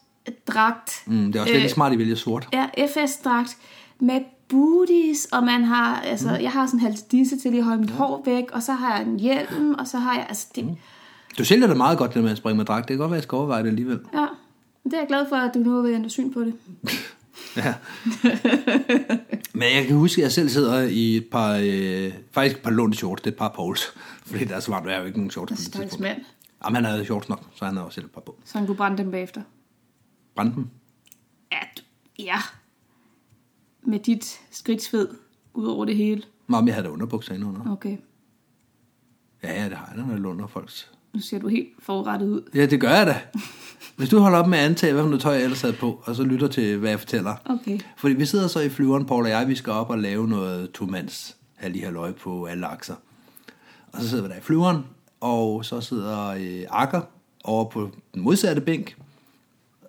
dragt.
Mm, det er også øh, smart, at I vælger sort.
Ja, FS-dragt med booties, og man har, altså, mm. jeg har sådan en halvdisse til lige at holde mit hår væk, og så har jeg en hjelm, og så har jeg, altså,
Mm.
det,
Du sælger det meget godt, det der med at springe med dragt. Det kan godt være, at jeg skal overveje det alligevel.
ja, det er jeg glad for, at du nu er ved at ændre syn på det.
Ja. Men jeg kan huske, at jeg selv sidder i et par, øh, faktisk et par lånte shorts. Det er et par poles. [LAUGHS] Fordi der er så varmt, der er jo ikke nogen shorts på det
Stakkels
tidspunkt.
mand,
Jamen, han havde shorts nok, så han havde også selv et par på.
så han kunne brænde dem bagefter.
Brændte dem.
Ja, du, ja. Med dit skridtsved ud over det hele.
Meget mere havde der underbukser indenunder.
Okay.
Ja, ja, det har jeg, når jeg låner folks
Nu ser du helt forrettet ud.
Ja, det gør jeg da. Hvis du holder op med at antage, hvad for noget tøj jeg ellers havde på, og så lytter til, hvad jeg fortæller.
Okay.
Fordi vi sidder så i flyveren, Paul og jeg, vi skal op og lave noget tomands halli halløj på alle akser. Og så sidder vi der i flyveren, og så sidder øh, Akker over på den modsatte bænk,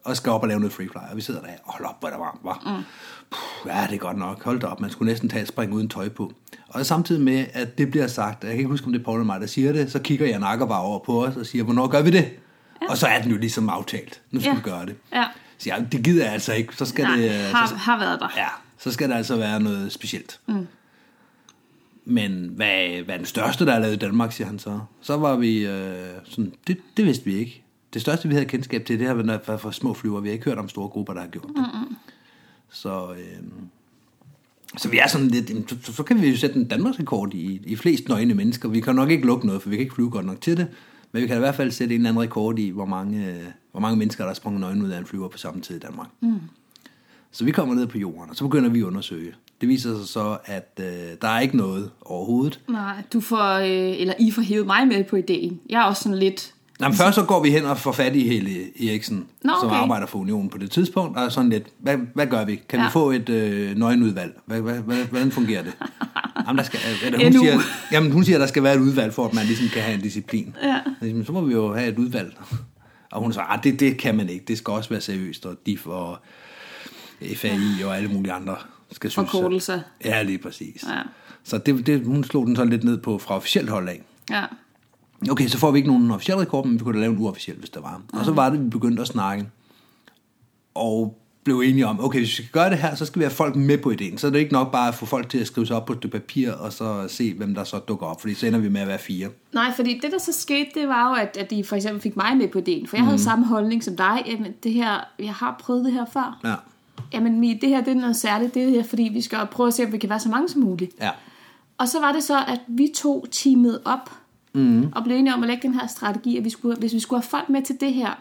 og skal op og lave noget free fly. Og vi sidder der, og hold op, hvor er der varmt, var. Mm. Puh, ja, det er godt nok. Hold da op, man skulle næsten tage et spring uden tøj på. Og samtidig med, at det bliver sagt, jeg kan ikke huske, om det er Paul eller mig, der siger det, så kigger jeg nakker bare over på os og siger, hvornår gør vi det? Ja. Og så er den jo ligesom aftalt. Nu skal
Ja.
vi gøre det.
Ja.
Så jeg, det gider jeg altså ikke. Så skal
Nej,
det,
har,
så,
har været der.
ja, så skal der altså være noget specielt. Mm. Men hvad, hvad er den største, der er lavet i Danmark, siger han så. Så var vi øh, sådan, det, det vidste vi ikke. Det største, vi havde kendskab til, det har været for små flyver. Vi har ikke hørt om store grupper, der har gjort det. Mm-hmm. Så, øh, så vi er sådan lidt, jamen, så, så- så kan vi jo sætte en Danmarks rekord i, i flest nøgne mennesker. Vi kan nok ikke lukke noget, for vi kan ikke flyve godt nok til det. Men vi kan i hvert fald sætte en eller anden rekord i, hvor mange, øh, hvor mange mennesker, der er sprunget nøgne ud af en flyver på samme tid i Danmark. Så vi kommer ned på jorden, og så begynder vi at undersøge. Det viser sig så, at øh, der er ikke noget overhovedet.
Nej, du får, øh, eller I får hævet mig med på ideen. Jeg er også sådan lidt,
Nå, men først så går vi hen og får fat i Helle Eriksen,
Nå,
som
okay.
arbejder for Unionen på det tidspunkt, og er sådan lidt, hvad, hvad gør vi? Kan ja.
Ja.
vi få et øh, nøgenudvalg? Hvad, hvad, hvad, hvordan fungerer
[LAUGHS]
det? jamen, der skal, eller,
NU.
hun siger, jamen, hun siger, at der skal være et udvalg, for at man ligesom kan have en disciplin.
Ja.
Ligesom, så må vi jo have et udvalg. Og hun svarer, "Ah, det, det kan man ikke. Det skal også være seriøst, og DIF og FAI og alle mulige andre skal synes. at-
Forkortelser.
Ja, lige præcis.
Ja.
Så det, det, hun slog den sådan lidt ned på fra officielt hold af.
ja,
Okay, så får vi ikke nogen officiel rekord, men vi kunne da lave en uofficiel, hvis der var. Og så var det, vi begyndte at snakke. Og blev enige om, okay, hvis vi skal gøre det her, så skal vi have folk med på ideen. Så er det ikke nok bare at få folk til at skrive sig op på et stykke papir, og så se, hvem der så dukker op. Fordi så ender vi med at være fire.
Nej, fordi det, der så skete, det var jo, at, at de for eksempel fik mig med på ideen, for jeg mm.
Mhm.
havde samme holdning som dig. Jamen, det her, jeg har prøvet det her før.
Ja,
Jamen, Mie, det her det er noget særligt, det her, fordi vi skal prøve at se, om vi kan være så mange som muligt.
ja.
Og så var det så, at vi to teamede op
Mhm.
mm. og blev enige om at lægge den her strategi, at vi skulle, hvis vi skulle have folk med til det her,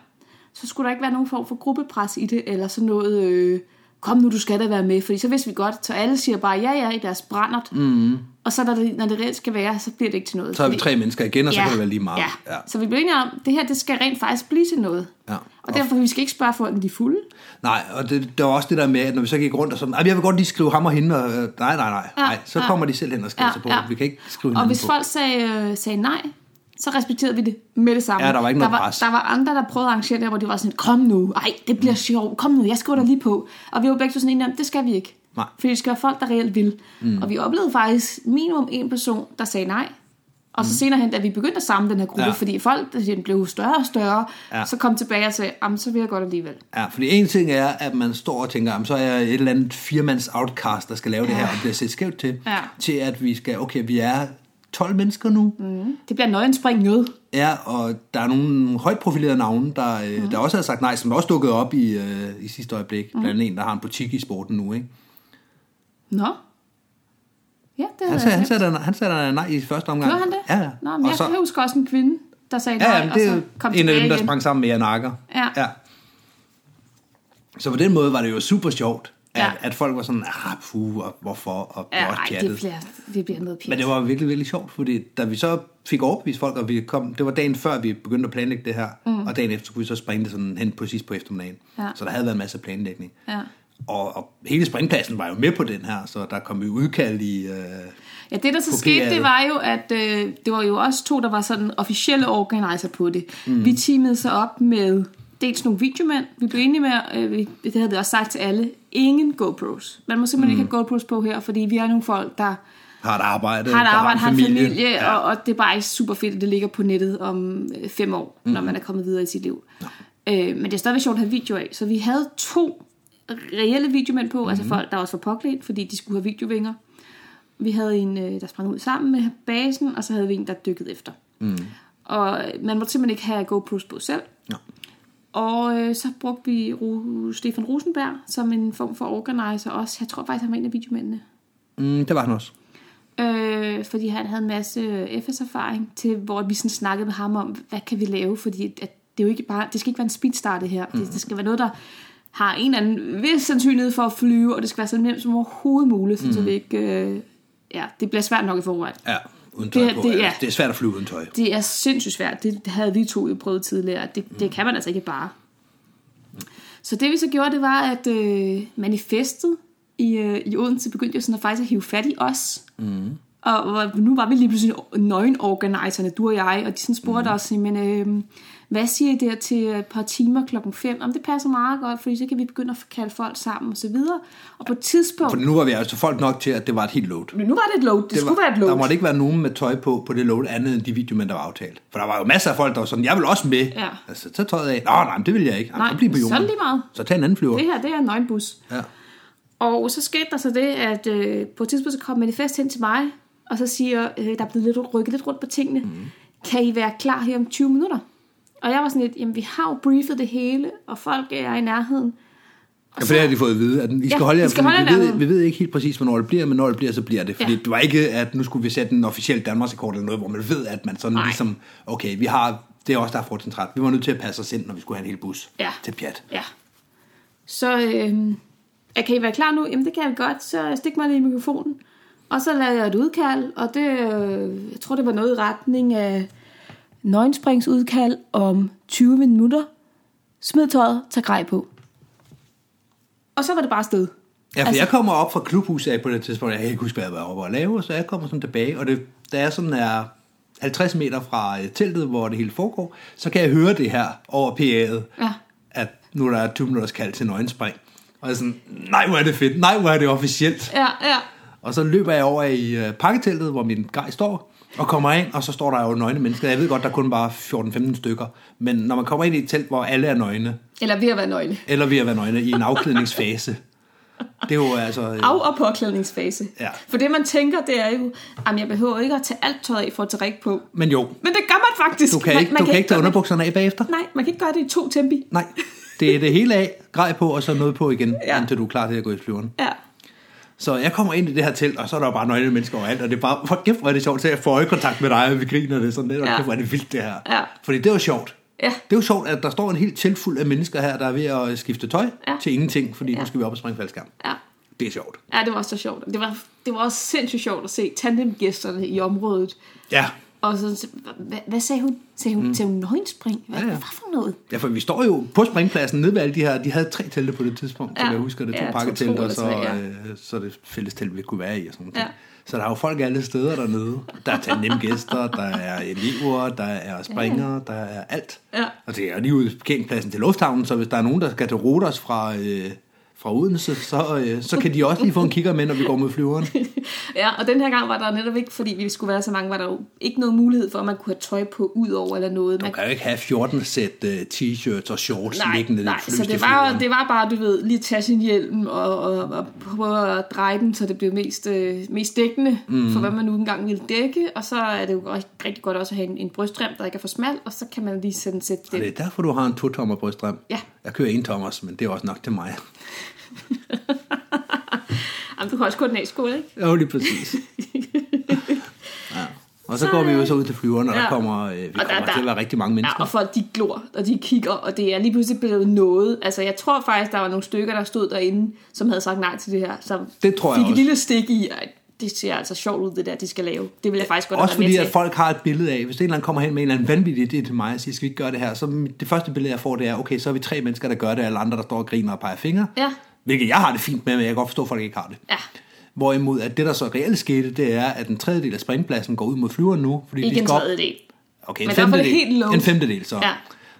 så skulle der ikke være nogen form for gruppepres i det, eller sådan noget, øh, kom nu, du skal da være med, fordi så vidste vi godt, så alle siger bare ja, ja i deres brændert, mm. og så når det, når det reelt skal være, så bliver det ikke til noget.
Mhm. Så er vi
Fordi-
tre mennesker igen, og så kan det være lige meget.
Ja. ja, så vi blev enige om, at det her det skal rent faktisk blive til noget.
Ja.
Og derfor vi skal ikke spørge folk, om de er fulde.
Nej, og det, der var også det der med, at når vi så gik rundt og sådan, "Ej, jeg vil godt lige skrive ham og hende, og, øh, nej, nej, nej,
Ja,
nej, så
ja.
kommer de selv hen og skriver sig på. Vi kan ikke skrive
Og
hinanden
hvis
på.
folk sagde, øh, sagde nej, så respekterede vi det med det samme.
Ja, der var ikke noget
der var,
pres. Mm.
Der var andre, der prøvede at arrangere det, hvor de var sådan, kom nu, ej, det bliver sjovt, kom nu, jeg skriver dig lige på. Og vi var begge to sådan enige om, det skal vi ikke.
Nej.
Fordi det skal være folk, der reelt vil. Mm. Og vi oplevede faktisk minimum en person, der sagde nej. Og så senere hen, da vi begyndte at samle den her gruppe,
Mm. Ja.
ja. fordi folk den blev større og større,
Ja.
ja. så kom tilbage og sagde, jamen, så vil jeg godt alligevel.
Ja, fordi en ting er, at man står og tænker, "Jamen, så er jeg et eller andet firmands outcast, der skal lave ja. det her, og bliver set skævt til,
Ja.
til at vi skal, okay, vi er 12 mennesker nu, mm.
Det bliver nøgenspring noget.
ja, og der er nogle højt profilerede navne, der, mm. der også har sagt nej, som også dukkede op i, øh, i sidste øjeblik, mm. blandt andet en, der har en butik i sporten nu, ikke?
Nå. Ja, det
Han
havde
sagde,
jeg
Altså, han sagde, der- han sagde der nej i første omgang.
Gjorde han det?
Ja, ja.
Nå, men
Og
jeg
så-
kan huske også en kvinde, der sagde nej,
Ja, ja men det er
og
jo
så kom
en af
tilbage
dem, der
igen.
sprang sammen med Jan Akker.
Ja.
ja. Så på den måde var det jo super sjovt, at,
Ja.
at folk var sådan, ah, puh, og hvorfor, og
Ja,
ja, også
ej,
pjattet.
det bliver, det bliver noget pjat.
Men det var virkelig, virkelig sjovt, fordi da vi så fik overbevist folk, og vi kom, det var dagen før, vi begyndte at planlægge det her, mm. og dagen efter kunne vi så springe det sådan hen på sidst på eftermiddagen.
Ja.
Så der havde været en masse planlægning.
Ja.
Og, og hele springpladsen var jo med på den her, så der kom jo udkald i... Øh,
Ja, det der så
på
skete,
PR'et.
det var jo, at øh, det var jo også to, der var sådan officielle organizer på det. Mm. Vi teamede sig op med dels nogle videomænd. Vi blev enige med, øh, vi- det havde vi også sagt til alle, ingen GoPros. Man må simpelthen mm. ikke have GoPros på her, fordi vi er nogle folk, der
har et arbejde,
har et arbejde, har Hm, en familie, familie
Ja.
ja. og, og det er bare ikke super fedt, at det ligger på nettet om øh, fem år, mm. når man er kommet videre i sit liv. Øh, men det er stadigvæk sjovt at have video af. Så vi havde to reelle videomænd på, mm. altså folk, der også var påklædt, fordi de skulle have videovinger. Vi havde en, øh, der sprang ud sammen med basen, og så havde vi en, der dykkede efter. Mm. Og øh, man måtte simpelthen ikke have GoPros på selv.
Nå.
Og øh, så brugte vi Ru- Stefan Rosenberg som en form for organizer også. Jeg tror faktisk, han var en af videomændene.
Mm, det var han også.
Øh, fordi han havde en masse FS-erfaring til, hvor vi sådan snakkede med ham om, hvad kan vi lave, fordi at det, er jo ikke bare, det skal ikke være en speedstart det her. Mm. Det, det, skal være noget, der har en eller anden vis sandsynlighed for at flyve, og det skal være så nemt som overhovedet muligt, mm. så vi ikke... Øh, ja, det bliver svært nok i forvejen.
Ja, uden tøj
Det-
på.
det-
Det,
ja.
ja. det er svært at flyve uden tøj.
Det er sindssygt svært. Det havde vi to jo prøvet tidligere. Det, mm. det kan man altså ikke bare. Så det vi så gjorde, det var, at øh, manifestet i, øh, i Odense begyndte jo sådan at faktisk at hive fat i os. Mm. Og, og nu var vi lige pludselig nøgenorganiserne, du og jeg, og de sådan spurgte mm. os, men øh, hvad siger I der til et par timer klokken 5? Om det passer meget godt, fordi så kan vi begynde at kalde folk sammen og så videre. Og på et tidspunkt...
For nu var vi altså folk nok til, at det var et helt load.
Men nu var det et load. Det, det skulle være et load.
Der måtte ikke være nogen med tøj på, på det load, andet end de videomænd, der var aftalt. For der var jo masser af folk, der var sådan, jeg vil også med.
Ja.
Altså, så tøjet af. Nå, nej, men det vil jeg ikke.
Nej,
Nej, så bliv på
så er det
jorden.
lige meget.
Så tag en anden flyver.
Det her, det er en nøgenbus.
Ja.
Og så skete der så det, at øh, på et tidspunkt så kom manifest hen til mig, og så siger, øh, der er blevet lidt, rykket lidt rundt på tingene. Mm. Kan I være klar her om 20 minutter? Og jeg var sådan lidt, jamen vi har jo briefet det hele, og folk er i nærheden.
Ja, for det har de fået at vide, at I skal
Ja,
holde jer,
I skal
fordi
holde jer
vi, ved,
derude.
vi ved ikke helt præcis, hvornår det bliver, men når det bliver, så bliver det. Fordi
Ja.
ja. det var ikke, at nu skulle vi sætte en officiel Danmarksrekord eller noget, hvor man ved, at man sådan
Nej.
Nej. ligesom, okay, vi har, det er også der har fortentræt. Vi var nødt til at passe os ind, når vi skulle have en hel bus
Ja.
til pjat.
Ja. Så øh, ja, kan I være klar nu? Jamen det kan jeg godt, så stik mig lige i mikrofonen. Og så lavede jeg et udkald, og det, øh, jeg tror det var noget i retning af nøgenspringsudkald om 20 minutter. Smid tøjet, tag grej på. Og så var det bare sted.
Ja, for
Altså-
altså, jeg kommer op fra klubhuset af på det tidspunkt, jeg kan ikke huske, hvad jeg var oppe og lave, så jeg kommer sådan tilbage, og det, da jeg sådan er 50 meter fra øh, teltet, hvor det hele foregår, så kan jeg høre det her over PA'et,
Ja.
at nu er der 20 minutters kald til nøgenspring. Og jeg er sådan, nej, hvor er det fedt, nej, hvor er det officielt.
Ja, ja.
Og så løber jeg over i øh, pakketeltet, hvor min grej står, og kommer ind, og så står der jo nøgne mennesker. Jeg ved godt, der kun var 14-15 stykker, men når man kommer ind i et telt, hvor alle er nøgne,
Eller ved at være nøgle.
eller ved at være nøgne i en afklædningsfase, det er jo altså... øh,
Af- og påklædningsfase.
Ja.
For det man tænker, det er jo, at jeg behøver ikke at tage alt tøjet af for at tage rig på.
Men jo,
Men det gør man faktisk.
du kan
man,
ikke, du kan ikke tage
gøre det-
underbukserne af bagefter.
Nej, man kan ikke gøre det i to tempi.
Nej, det er det hele af, grej på, og så noget på igen,
Ja.
ja. indtil du er klar til at gå i flyveren.
Ja.
Så jeg kommer ind i det her telt, og så er der jo bare nøgne mennesker overalt, og det er bare, hvor kæft, hvor er det sjovt, så jeg får øjekontakt med dig, og vi griner det sådan lidt, og
Ja.
ja. kæft, hvor er det vildt det her.
Ja.
Fordi det er jo sjovt.
Ja.
Det er jo sjovt, at der står en helt telt fuld af mennesker her, der er ved at skifte tøj
Ja.
ja. til ingenting, fordi
Ja.
ja. nu skal vi op og springe faldskærm.
Ja.
Det er sjovt.
Ja, det var også så sjovt. Det var, det var også sindssygt sjovt at se tandemgæsterne i området.
Ja.
Og så, hvad, hvad sagde hun? Sagde hun, mm. sagde hun nøgenspring? Hvad, ja,
Ja,
ja.
ja.
hvad for noget? [LAUGHS]
ja, for vi står jo på springpladsen nede ved alle de her, de havde tre telte på det tidspunkt, ja.
Ja.
som jeg husker det, to
Ja, to-
ja,
to
pakketelt, og
eller
så,
tre, ja.
øh, så det fælles telt, vi kunne være i og sådan noget.
Ja.
Så der er jo folk alle steder dernede. Der er tandemgæster, der er elever, der er springere, der er alt.
Ja.
Og det er jo lige ude på parkeringspladsen til lufthavnen, så hvis der er nogen, der skal til Rodos fra, øh, fra Odense, så, øh, så kan de også lige få en kigger med, når vi går mod flyveren.
ja, og den her gang var der netop ikke, fordi vi skulle være så mange, var der jo ikke noget mulighed for, at man kunne have tøj på ud over eller noget. Man,
Man kan jo ikke have 14 sæt øh, t-shirts og shorts
nej,
liggende
nej,
løst
så
i
det var,
flyveren.
det var bare, du ved, lige tage sin hjelm og, og, og prøve at dreje den, så det blev mest, øh, mest dækkende mm. for, hvad man nu engang ville dække. Og så er det jo rigtig, rigtig godt også at have en, en brystrem, der ikke er for smal, og så kan man lige sådan sætte
Og
den
det er derfor, du har en to-tommer brystrem.
Ja.
Jeg kører en tommers, men det er også nok til mig.
[LAUGHS] Jamen, du kan også kun sko, ikke?
Jo, lige præcis.
[LAUGHS]
ja. Og så går vi jo så ud til flyveren, og
Ja.
der kommer, øh, vi
Og der-
kommer
der-
til at være rigtig mange
Ja,
mennesker.
og folk de glor, og de kigger, og det er lige pludselig blevet noget. Altså, jeg tror faktisk, der var nogle stykker, der stod derinde, som havde sagt nej til det her, som
Det tror jeg
fik et
også.
lille stik i, at det ser altså sjovt ud, det der, de skal lave. Det vil jeg faktisk godt
Også
have været
fordi,
med
at
til.
folk har et billede af, hvis en eller anden kommer hen med en eller anden vanvittig idé til mig og siger, skal vi ikke gøre det her? Så mit- det første billede, jeg får, det er, okay, så er vi tre mennesker, der gør det, og alle andre, der står og griner og peger fingre.
Ja.
Hvilket jeg har det fint med, men jeg kan godt forstå, at folk ikke har det.
Ja.
Hvorimod, at det, der så reelt skete, det er, at en tredjedel af springpladsen går ud mod flyveren nu. Fordi
Ikke
de
en
skal op-
tredjedel.
Okay, en
Men der er for det
femtedel,
helt low.
en femtedel så.
Ja.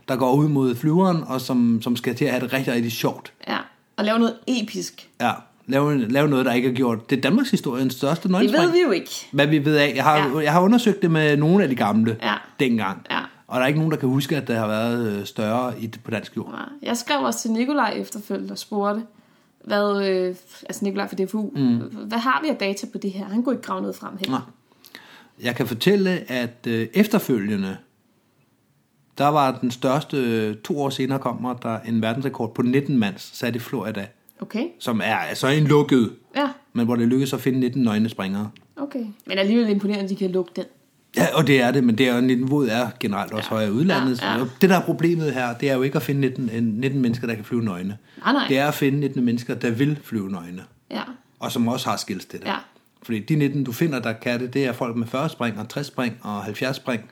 Der går ud mod flyveren, og som, som skal til at have det rigtig, rigtig sjovt.
Ja, og lave noget episk.
Ja, lave, lave noget, der ikke er gjort. Det er Danmarks historiens største
Det ved
nøgenspring.
vi jo ikke.
Hvad vi ved af. Jeg har,
Ja.
ja. jeg har undersøgt det med nogle af de gamle
Ja.
dengang.
Ja.
Og der er ikke nogen, der kan huske, at der har været øh, større i, på dansk jord.
Nej. Jeg skrev også til Nikolaj efterfølgende og spurgte, hvad, øh, altså Nikolaj fra DFU, mm. hvad har vi af data på det her? Han kunne ikke grave noget frem her.
Nej. Jeg kan fortælle, at øh, efterfølgende, der var den største, øh, to år senere kommer der en verdensrekord på 19 mands sat i Florida,
Okay?
som er altså en lukket,
Ja,
men hvor det lykkedes at finde 19 nøgne springere.
okay. Men alligevel imponerende, at de kan lukke den.
Ja, og det er det, men det er jo, niveauet er generelt også ja. højere i udlandet.
Ja,
Ja,
ja.
ja. Det, der er problemet her, det er jo ikke at finde 19, en- 19 mennesker, der kan flyve nøgne.
Ah, Nej, nej.
Det er at finde 19 mennesker, der vil flyve nøgne,
Ja,
og som også har skills til det.
Ja.
Fordi de 19, du finder, der kan det, det er folk med 40 spring og 60 spring og 70 spring.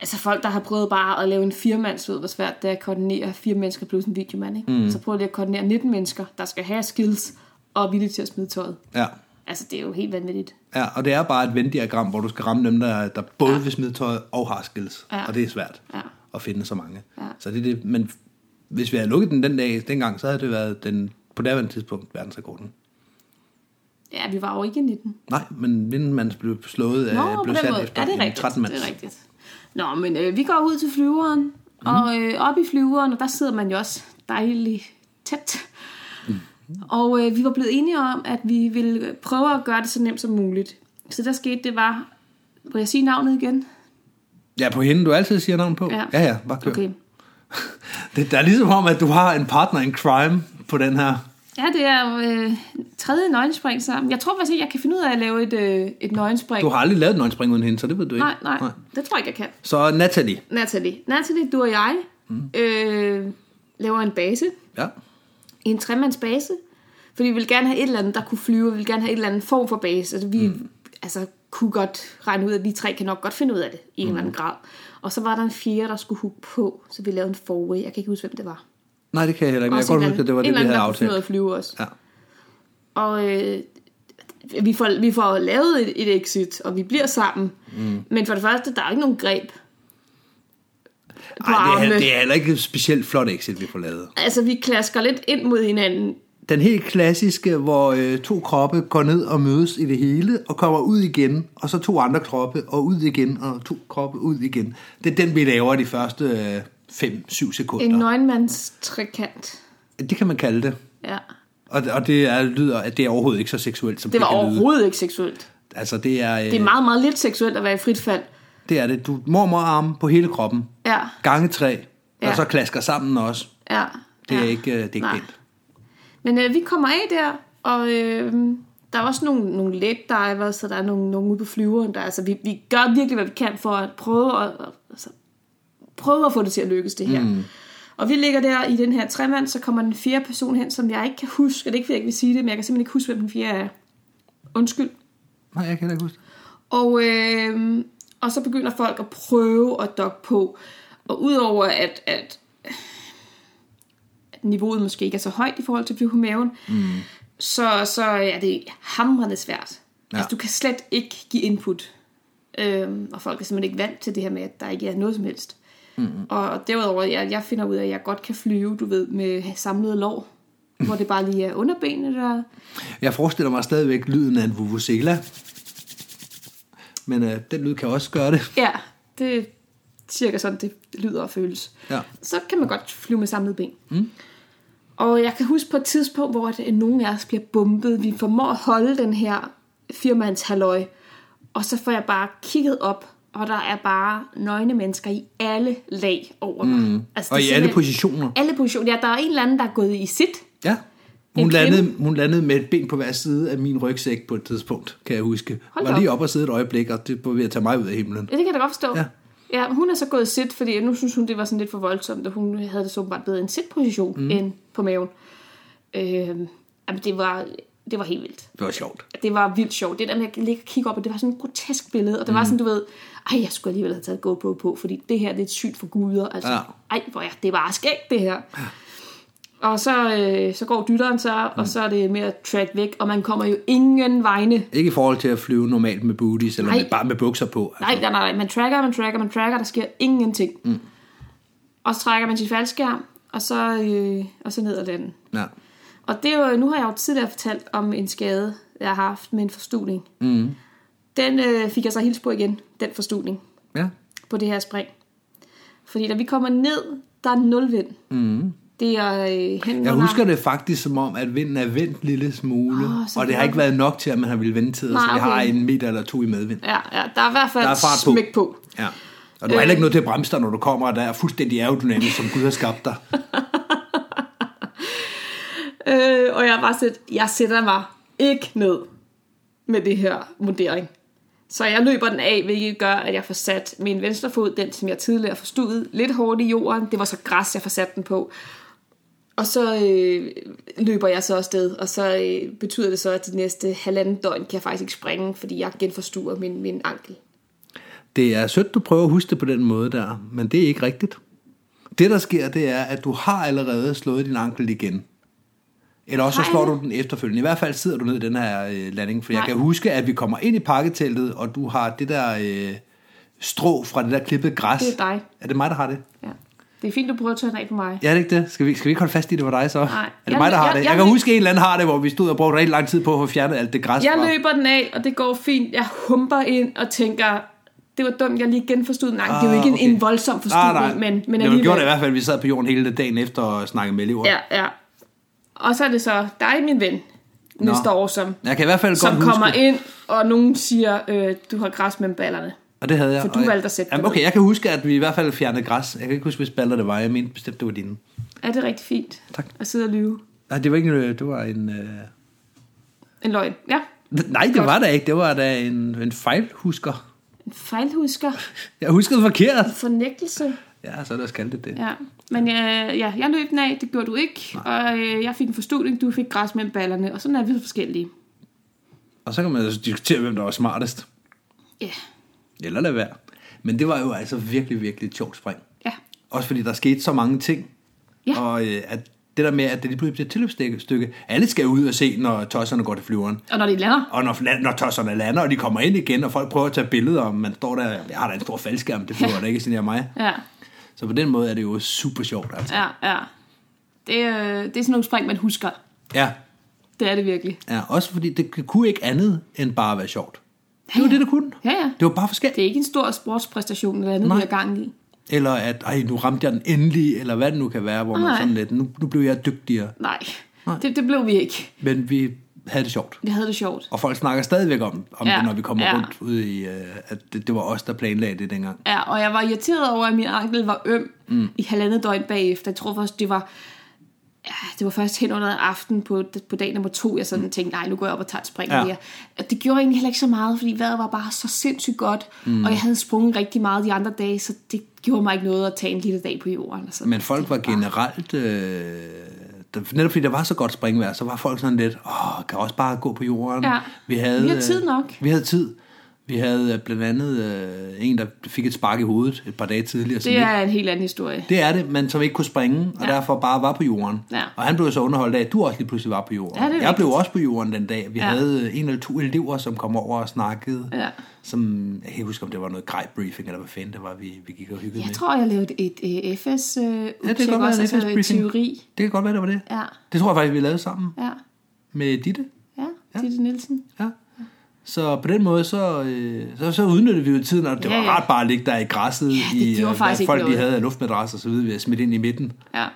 Altså folk, der har prøvet bare at lave en firmands, ved hvor svært det er at koordinere fire mennesker plus en videomand. Ikke? Mm. Så prøv lige at koordinere 19 mennesker, der skal have skills og er villige til at smide tøjet.
Ja.
Altså det er jo helt vanvittigt.
ja og det er bare et venn-diagram, hvor du skal ramme dem, der, der både ja. vil smide tøj og har skills.
Ja.
Og det er svært
Ja.
at finde så mange.
Ja.
Så det er det. Men hvis vi havde lukket den den dag, dengang, så havde det været den, på daværende tidspunkt verdensrekorden.
Ja, vi var jo ikke 19.
Nej, men vindermands blev slået
Nå,
af,
på
Øh, blev
den
sat
måde.
efter
Ja, det er
en
rigtigt.
13 mands.
Det er rigtigt. Nå, men øh, vi går ud til flyveren,
Mhm.
mm. og øh, op i flyveren, og der sidder man jo også dejligt tæt.
Mhm.
Mm. Og øh, vi var blevet enige om, at vi ville prøve at gøre det så nemt som muligt. Så der skete, det var... Må jeg sige navnet igen?
Ja, på hende, du altid siger navn på.
Ja.
Oh, ja, ja bare kør.
Okay.
Det, der er ligesom om, at du har en partner in crime på den her.
Ja, det er jo, øh, tredje nøgenspring sammen. Jeg tror faktisk ikke, jeg kan finde ud af at lave et, øh, et nøgenspring.
Du har aldrig lavet en spring uden hende, så det ved du ikke.
nej, nej, nej, det tror jeg ikke, jeg kan.
Så Natalie.
Natalie, Natalie du og jeg mm. øh, laver en base.
Ja.
i en tremandsbase. Fordi vi ville gerne have et eller andet, der kunne flyve, vi ville gerne have et eller andet form for base. Altså, vi mm. altså, kunne godt regne ud, at vi tre kan nok godt finde ud af det i en eller
Mm.
anden grad. Og så var der en fjerde, der skulle hugge på, så vi lavede en forway. Jeg kan ikke huske, hvem det var.
Nej, det kan jeg heller ikke. men Jeg
Også
kan
en
godt huske,
eller
at det var
anden-
det, vi
en
havde
eller anden, der kunne finde
aftalt.
ud af at flyve også.
Ja.
Og øh, vi, får, vi får lavet et, et exit, og vi bliver sammen. Mm. Men for det første, der er ikke nogen greb. På
Ej, det, er,
armene.
det er heller ikke et specielt flot exit, vi får lavet.
Altså, vi klasker lidt ind mod hinanden,
Den helt klassiske, hvor øh, to kroppe går ned og mødes i det hele, og kommer ud igen, og så to andre kroppe, og ud igen, og to kroppe ud igen. Det er den, vi laver de første 5-7
en
sekunder.
nøgenmandstrekant.
Det kan man kalde det.
Ja.
Og, og det er, lyder, at det er overhovedet ikke så seksuelt, som det,
Det var
kan lyde.
overhovedet ikke seksuelt.
Altså, det er, øh,
Det er meget, meget lidt seksuelt at være i frit fald.
det er det. Du mormor arme på hele kroppen.
Ja,
Gange tre. Ja.
Ja.
Og så klasker sammen også.
ja.
Det er
ja.
ja. ikke, øh, det er ikke
Nej.
pænt.
Men øh, vi kommer af der, og øh, der er også nogle, nogle let divers, og der er nogle, nogle ude på flyveren. Der, altså, vi, vi gør virkelig, hvad vi kan for at prøve at, altså, prøve at få det til at lykkes, det her. Mm. Og vi ligger der i den her tremand, så kommer den fjerde person hen, som jeg ikke kan huske. Og det er ikke, fordi jeg ikke vil sige det, men jeg kan simpelthen ikke huske, hvem den fjerde er. Undskyld.
Nej, jeg kan heller ikke huske det.
Og, øh, og så begynder folk at prøve at dokke på. Og udover at, at, at niveauet måske ikke er så højt i forhold til Vivo Maven, mm. så, så er det hamrende svært.
Ja.
Ja. Altså, du kan slet ikke give input. Øhm, og folk er simpelthen ikke vant til det her med, at der ikke er noget som helst. Mm. Og, og derudover, jeg, jeg finder ud af, at jeg godt kan flyve, du ved, med samlede lår. Hvor det bare lige er underbenene, der...
Jeg forestiller mig stadigvæk lyden af en vuvuzela. Men øh, den lyd kan også gøre det.
Ja, det er cirka sådan, det lyder og føles.
Ja.
Så kan man godt flyve med samlede ben. Mm. Og jeg kan huske på et tidspunkt, hvor at nogen af os bliver bumpet. Vi formår at holde den her firmands halløj. Og så får jeg bare kigget op, og der er bare nøgne mennesker i alle lag over mig. Mm. Altså,
Og
det er
i alle
simpelthen-
positioner.
Alle positioner. Ja, der er en eller anden, der er gået i sit.
Ja. Hun
En
landede, hun landede med et ben på hver side af min rygsæk på et tidspunkt, kan jeg huske.
Hold da
var lige
op.
op og sidde et øjeblik, og det var ved at tage mig ud af himlen.
Ja, det kan jeg da godt forstå.
Ja.
ja hun er så gået sit, fordi nu synes hun, det var sådan lidt for voldsomt, og hun havde det så åbenbart bedre en sit-position mm. end på maven. Øh, jamen, det var, det var helt vildt.
Det var sjovt.
Det var vildt sjovt. Det der med at ligge og kigge op, og det var sådan et grotesk billede, og det mm. var sådan, du ved, ej, jeg skulle alligevel have taget GoPro på, fordi det her, det er et sygt for guder. Altså,
Ja.
ja. ej, hvor er det bare skægt, det her. Og så, øh, så går dytteren så, og så er det med at track væk, og man kommer jo ingen vegne
Ikke i forhold til at flyve normalt med booties, eller
Nej.
med, bare med bukser på.
Nej, nej, nej. Man tracker, man tracker, man tracker. Der sker ingenting. Mm. Og så trækker man sin faldskærm, og så, øh, og så ned ad den.
Ja.
Og det er jo, nu har jeg jo tidligere fortalt om en skade, jeg har haft med en forstudning. Mm. Den øh, fik jeg så hils på igen, den forstudning,
ja.
på det her spring. Fordi da vi kommer ned, der er nul vind. Mm. Det er øh, hen
Jeg
under-
husker det faktisk som om, at vinden er vendt en lille smule,
Åh,
oh,
så
og det
det
har
var-
ikke været nok til, at man har ville vente til, så
Nej,
vi har
okay.
en meter eller to i medvind.
Ja, ja, der er i hvert fald
Der er fart på.
smæk på. Øh.
Ja. Og du har heller ikke noget til at bremse dig, når du kommer, og der er fuldstændig aerodynamisk, som Gud har skabt dig.
Øh, og jeg var set, jeg sætter mig ikke ned med det her mundering. Så jeg løber den af, hvilket gør, at jeg får sat min venstre fod, den som jeg tidligere forstod, lidt hårdt i jorden. Det var så græs, jeg får sat den på. Og så øh, løber jeg så afsted, og så øh, betyder det så, at de næste halvanden døgn kan jeg faktisk ikke springe, fordi jeg genforstuer min, min ankel.
Det er sødt, du prøver at huske det på den måde der, men det er ikke rigtigt. Det, der sker, det er, at du har allerede slået din ankel igen. Eller også så
Har jeg
slår du den efterfølgende. I hvert fald sidder du ned i den her øh, landing, for jeg
Nej.
kan huske, at vi kommer ind i pakketeltet, og du har det der øh, strå fra det der klippede græs.
Det er dig.
Er det mig, der har det?
Ja. Det er fint, du prøver at tørre den af på mig.
Ja, er det ikke det? Skal vi, skal vi ikke holde fast i, det var dig så?
Nej.
Er det
Jeg-
mig, der har
jeg-
det? Jeg,
jeg-
kan huske, at en eller anden har det, hvor vi stod og brugte rigtig lang tid på at få fjernet alt det græs
Jeg
fra.
løber den af, og det går fint. Jeg humper ind og tænker, det var dumt, jeg lige genforstod. Nej, ah, det er jo ikke okay. en, en voldsom
Ah,
forstudning,
nej.
men, men
det gjorde det i hvert fald, at vi sad på jorden hele dagen efter og snakkede med elever.
Ja, ja. Og så er det så dig, min ven, næste
Nå.
år, som,
Jeg kan i hvert fald
som
godt
kommer
huske,
ind, og nogen siger, øh, du har græs mellem ballerne.
og det havde jeg.
for du
og jeg-
valgte at sætte
Jamen,
det
okay, jeg kan huske, at vi i hvert fald fjernede græs. Jeg kan ikke huske, hvis baller det var. Jeg mente bestemt, det var dine.
Er det rigtig fint
Tak.
at sidde og lyve?
Nej, det var ikke en, øh, det var en... Øh...
En løgn, ja.
[LAUGHS] Nej, det var da ikke. Det var da en, en fejlhusker.
En fejlhusker.
Jeg huskede forkert.
Fornægtelse.
Ja, så er der skaldet det.
Ja. Men øh, ja, jeg løb den af, det gjorde du ikke. Og øh, jeg fik en forstudning, du fik græs mellem ballerne. Og sådan er vi så forskellige.
Og så kan man altså diskutere, hvem der var smartest.
Ja. Yeah.
Eller lad være. Men det var jo altså virkelig, virkelig et sjovt spring.
Ja.
Også fordi der skete så mange ting.
Ja.
Og øh, at det der med, at det lige pludselig bliver et tilløbsstykke. stykke. Alle skal ud og se, når tosserne går til flyveren.
Og når de lander.
Og når, la- når tosserne lander, og de kommer ind igen, og folk prøver at tage billeder, og man står der, jeg har da en stor faldskærm, det flyver ja. da ikke, sådan mig.
Ja,
Så på den måde er det jo super sjovt. Altså.
ja, ja. Det, øh, det er sådan nogle spring, man husker.
Ja.
Det er det virkelig.
ja, også fordi det kunne ikke andet end bare at være sjovt. Det var det, der kunne.
Ja, ja.
Det var bare forskelligt.
Det er ikke en stor sportspræstation, eller andet,
Nej.
vi har gang i.
Eller at, ej, nu ramte jeg den endelig, eller hvad det nu kan være, hvor man
Nej.
sådan lidt, nu, nu blev jeg dygtigere.
Nej, det, det blev vi ikke.
Men vi havde det sjovt.
Vi havde det sjovt.
Og folk snakker stadigvæk om, om ja,
Ja,
det, når vi kommer ja.
ja.
rundt ude i, øh, at det, det var os, der planlagde det dengang.
Ja, og jeg var irriteret over, at min ankel var øm mm. i halvandet døgn bagefter. Jeg tror først, det var, ja, det var først hen under aften på, på dag nummer to, jeg sådan mm. tænkte, nej, nu går jeg op og tager et spring
Ja.
ja. Og det gjorde egentlig heller ikke så meget, fordi vejret var bare så sindssygt godt, mm. og jeg havde sprunget rigtig meget de andre dage, så det gjorde mig ikke noget at tage en lille dag på jorden. Og sådan.
Men folk var generelt, øh, der, netop fordi der var så godt springvejr, så var folk sådan lidt, åh, kan jeg også bare gå på jorden.
Ja.
Vi, havde,
Vi havde
øh,
tid nok.
Vi havde tid. Vi havde øh, blandt andet øh, en, der fik et spark i hovedet et par dage tidligere. som
det er en helt anden historie.
Det er det, men som ikke kunne springe, og ja. derfor bare var på jorden.
Ja.
Og han blev så underholdt af, at du også lige pludselig var på jorden.
Ja, det er
jeg
rigtigt.
blev også på jorden den dag. Vi ja.
Ja.
havde øh, en eller to elever, som kom over og snakkede.
Ja.
Som, jeg kan ikke huske, om det var noget grej briefing, eller hvad fanden det var, vi, vi gik og hyggede
Jeg
med.
tror, jeg lavede et, et, et FS øh, ja,
Mm. ja, det kan godt være en
altså
FS briefing.
teori.
Det kan godt være, det var det.
Ja,
Det tror jeg faktisk, vi lavede sammen
ja,
med Ditte.
ja, ja. Ditte Nielsen.
Ja. Så på den måde, så, øh, så, så udnyttede vi jo tiden, og det
Ja,
var
ja.
rart bare at ligge der i græsset, ja,
det
i,
gjorde
øh,
faktisk
hvad
ikke
folk de
noget.
havde af luftmadras og så videre, vi havde smidt ind i midten.
Ja,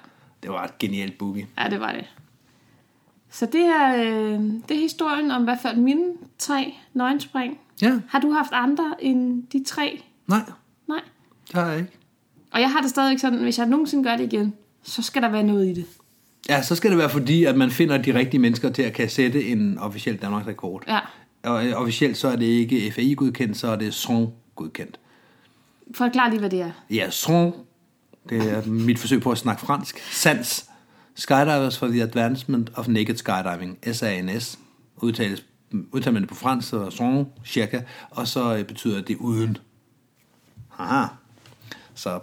Det var et genialt boogie.
ja det var det. Så det er, øh, det er historien om i hvert fald mine tre nøgenspring.
Ja,
Har du haft andre end de tre?
nej,
Nej.
det har jeg ikke.
Og jeg har det stadigvæk sådan, hvis jeg nogensinde gør det igen, så skal der være noget i det.
Ja, så skal det være fordi, at man finder de rigtige mennesker til at kan sætte en officiel Danmarks rekord.
Ja.
Og øh, officielt så er det ikke FAI-godkendt, så er det SON-godkendt.
Forklar lige, hvad det er.
Ja, SON, det er mit forsøg på at snakke fransk. SANS, Skydivers for the Advancement of Naked Skydiving, SANS, udtales, udtaler man det på fransk, så SON cirka, og så øh, betyder det uden. Haha. Så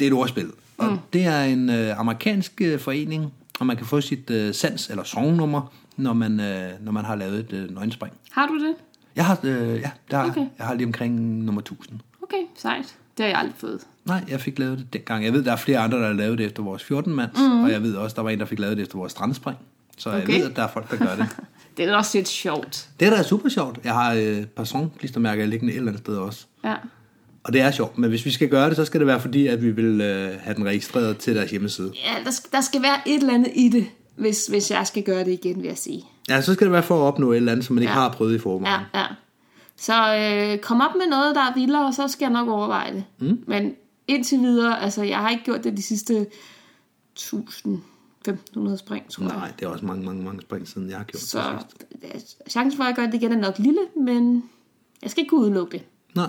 det er et ordspil. Og mm. det er en øh, amerikansk øh, forening, og man kan få sit øh, sans- eller songnummer, når man, øh, når man har lavet et øh, nøgenspring.
Har du det?
Jeg har, øh, ja, der, okay.
Okay.
jeg har lige omkring nummer 1000.
Okay, sejt. Det har jeg aldrig fået. [LAUGHS]
Nej, jeg fik lavet det dengang. Jeg ved, der er flere andre, der har lavet det efter vores 14-mands, mm. og jeg ved også, der var en, der fik lavet det efter vores strandspring. Så okay.
Okay.
jeg ved, at der er folk, der gør [LAUGHS] det.
Det er da også lidt sjovt.
det er da super sjovt. Jeg har øh, personklistermærker liggende et eller andet sted også.
Ja.
Og det er sjovt, men hvis vi skal gøre det, så skal det være fordi, at vi vil øh, have den registreret til deres hjemmeside.
Ja, der skal, der skal være et eller andet i det, hvis, hvis jeg skal gøre det igen, vil jeg sige.
Ja, så skal det være for at opnå et eller andet, som man ikke ja.
Ja.
har prøvet i forvejen.
Ja, ja. Så øh, kom op med noget, der er vildere, og så skal jeg nok overveje det. Mm. Men indtil videre, altså jeg har ikke gjort det de sidste 1000-1500 spring, tror
Ja.
jeg.
Nej, det er også mange, mange, mange spring siden, jeg har gjort så. det.
Så
sidst.
øh, chancen for, at jeg gør det igen, er nok lille, men jeg skal ikke kunne udelukke det.
Nej.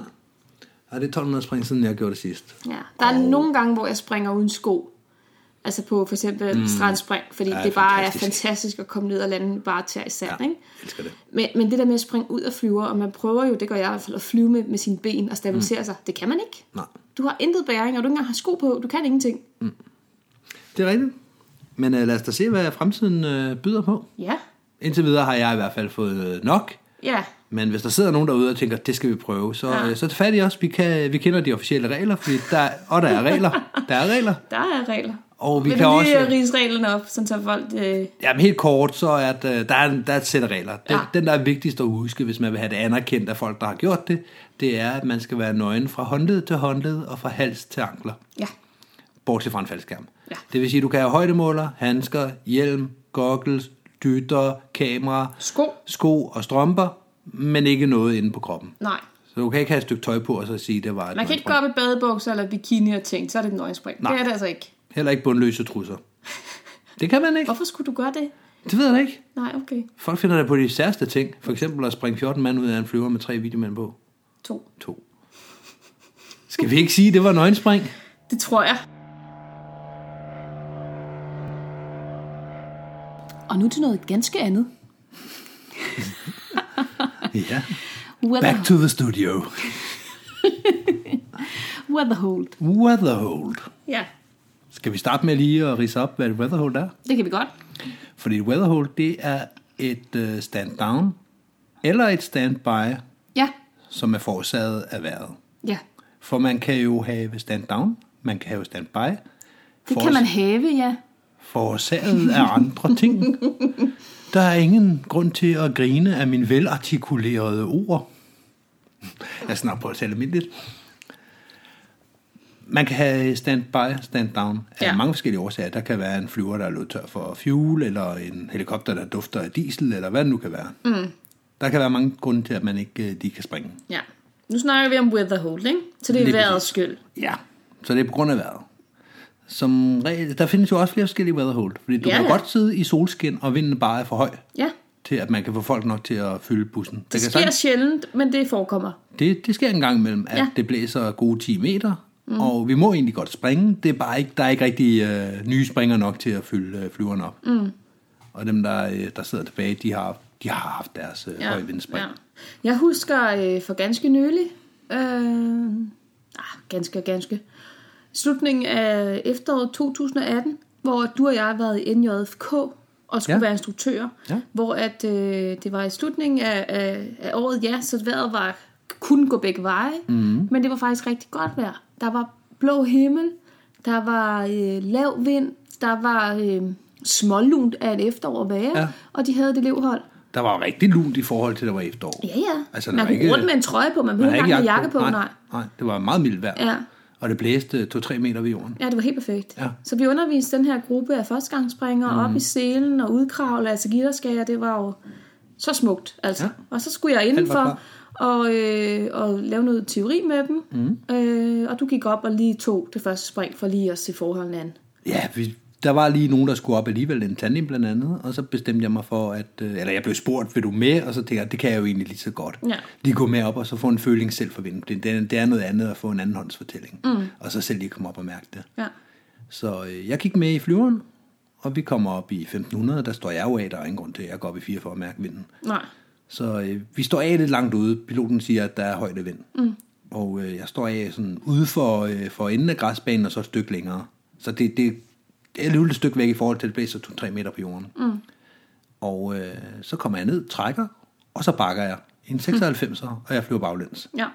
Ja, det er 1200 spring siden, jeg gjorde det sidst.
Ja. Der er nogle gange, hvor jeg springer uden sko. Altså på for eksempel mm. strandspring, fordi
Ja,
ja, det bare
fantastisk.
fantastisk. er fantastisk at komme ned og lande bare til i sand, ja. ikke?
Jeg elsker det.
Men, men det der med at springe ud og flyve, og man prøver jo, det gør jeg i hvert fald, at flyve med, med sine ben og stabilisere mm. sig, det kan man ikke.
Nej.
Du har intet bæring, og du ikke engang har sko på, du kan ingenting.
Det er rigtigt. Men øh, lad os da se, hvad fremtiden øh, byder på.
Ja,
Indtil videre har jeg i hvert fald fået øh, nok.
ja,
Men hvis der sidder nogen derude og tænker, det skal vi prøve, så, ja.
Ja.
øh, så er det fat i os. Vi, kan, vi kender de officielle regler, fordi der, og der er regler. Der er regler.
der er regler.
Og vi
Vil
kan
du lige
også-
øh, rise reglerne op, sådan så folk... Øh,
Jamen helt kort, så er at, øh, der, er, der er et sæt af regler. Den, ja.
Ja.
den, der er vigtigst at huske, hvis man vil have det anerkendt af folk, der har gjort det, det er, at man skal være nøgen fra håndled til håndled og fra hals til ankler.
ja,
bortset fra en faldskærm.
Ja.
Det vil sige, at du kan have højdemåler, handsker, hjelm, goggles, dytter, kamera,
sko?
sko og strømper, men ikke noget inde på kroppen.
Nej.
Så du kan ikke have et stykke tøj på og så sige, at det var et
Man kan ikke gå
nøgenspring.
op i badebukser eller bikini og ting, så er det et nøgenspring.
Nej.
Det er det altså ikke.
Heller ikke bundløse trusser. Det kan man ikke.
Hvorfor skulle du gøre det?
Det ved jeg da ikke.
Nej, okay.
Folk finder det på de særste ting. For eksempel at springe 14 mand ud af en flyver med tre videomænd på.
To.
To. Skal vi ikke sige, at det var nøgenspring?
Det tror jeg. Og nu til noget ganske andet.
Ja. Back
Weather,
to the studio.
weatherhold.
Weatherhold.
Ja,
Skal vi starte med lige at rise op, hvad et weatherhold er?
det kan vi godt.
Fordi et weatherhold, det er et øh, stand-down eller et standby,
Ja,
som er forårsaget af vejret.
ja.
For man kan jo have stand-down, man kan have standby,
Det kan man have, ja.
forårsaget af andre ting. Der er ingen grund til at grine af mine velartikulerede ord. Jeg snakker på at tale almindeligt. Man kan have stand-by, stand-down af ja.
Ja.
mange forskellige årsager. Der kan være en flyver, der er løbet tør for fuel, eller en helikopter, der dufter af diesel, eller hvad det nu kan være. Mm. Der kan være mange grunde til, at man ikke øh, lige kan springe.
Ja. Nu snakker vi om weatherhold, ikke? Så det
Lige
er vejrets skyld.
Ja, så det er på grund af vejret. Som regel, der findes jo også flere forskellige weatherhold, fordi du ja,
Ja,
kan jo
ja.
godt sidde i solskin, og vinden bare er for høj.
Ja,
til, at man kan få folk nok til at fylde bussen. Det,
det
kan
sker
sagtens-
sjældent, men det forekommer.
det, det sker en gang imellem, at ja.
Ja.
det blæser gode 10 meter, mm. og vi må egentlig godt springe. Det er bare ikke, der er ikke rigtig øh, nye springer nok til at fylde øh, flyveren op. Mm. Og dem, der, øh, der sidder tilbage, de har, de har haft deres øh, ja. høje vindspring. Ja.
Jeg husker øh, for ganske nylig, øh, ah, ganske og ganske, slutningen af efteråret 2018, hvor du og jeg har været i NJFK og skulle
Ja.
ja. være instruktører,
Ja.
hvor at, øh, det var i slutningen af, af, af året, ja, så vejret var, kunne gå begge veje,
Mhm.
mm. men det var faktisk rigtig godt vejr. Der var blå himmel, der var øh, lav vind, der var øh, smålunt af et efterår at være,
Ja.
ja. og de havde det elevhold.
Der var jo rigtig lunt i forhold til, at der var efterår.
Ja, ja.
Altså,
Altså,
der
man
var
kunne
ikke-
ikke... rundt med en trøje på, man ville
havde
ikke engang have jakke på, nej.
nej. Nej, det var meget mildt vejr.
Ja.
Og det blæste 2-3 meter ved jorden.
Ja, det var helt perfekt.
Ja. Mhm.
Så vi underviste den her gruppe af førstegangsspringere mm. op i selen og udkravl, altså gitterskager, det var jo så smukt, altså.
Ja.
Ja. Og så skulle jeg
Alt
indenfor
var
og, øh, og lave noget teori med dem,
Mhm.
mm. øh, og du gik op og lige tog det første spring for lige at se forholdene an.
Ja, vi, der var lige nogen, der skulle op alligevel, en tandem blandt andet, og så bestemte jeg mig for, at, øh, eller jeg blev spurgt, vil du med? Og så tænkte jeg, det kan jeg jo egentlig lige så godt.
Ja.
Lige gå med op og så få en føling selv for vinden. Det, det, det er noget andet at få en andenhåndsfortælling, mm. og så selv lige komme op og mærke det.
Ja.
Så øh, jeg gik med i flyveren, og vi kommer op i 1500, der står jeg jo af, der er ingen grund til, at jeg går op i 4 for at mærke vinden.
Nej.
Så øh, vi står af lidt langt ude. Piloten siger, at der er højde vind. Mm. Og øh, jeg står af sådan ude for, øh, for enden af græsbanen, og så et stykke længere. Så det, det, det er alligevel et stykke væk i forhold til, at det blæser 2-3 meter på jorden. Mm. Og øh, så kommer jeg ned, trækker, og så bakker jeg. En 96'er, og jeg flyver baglæns.
Ja.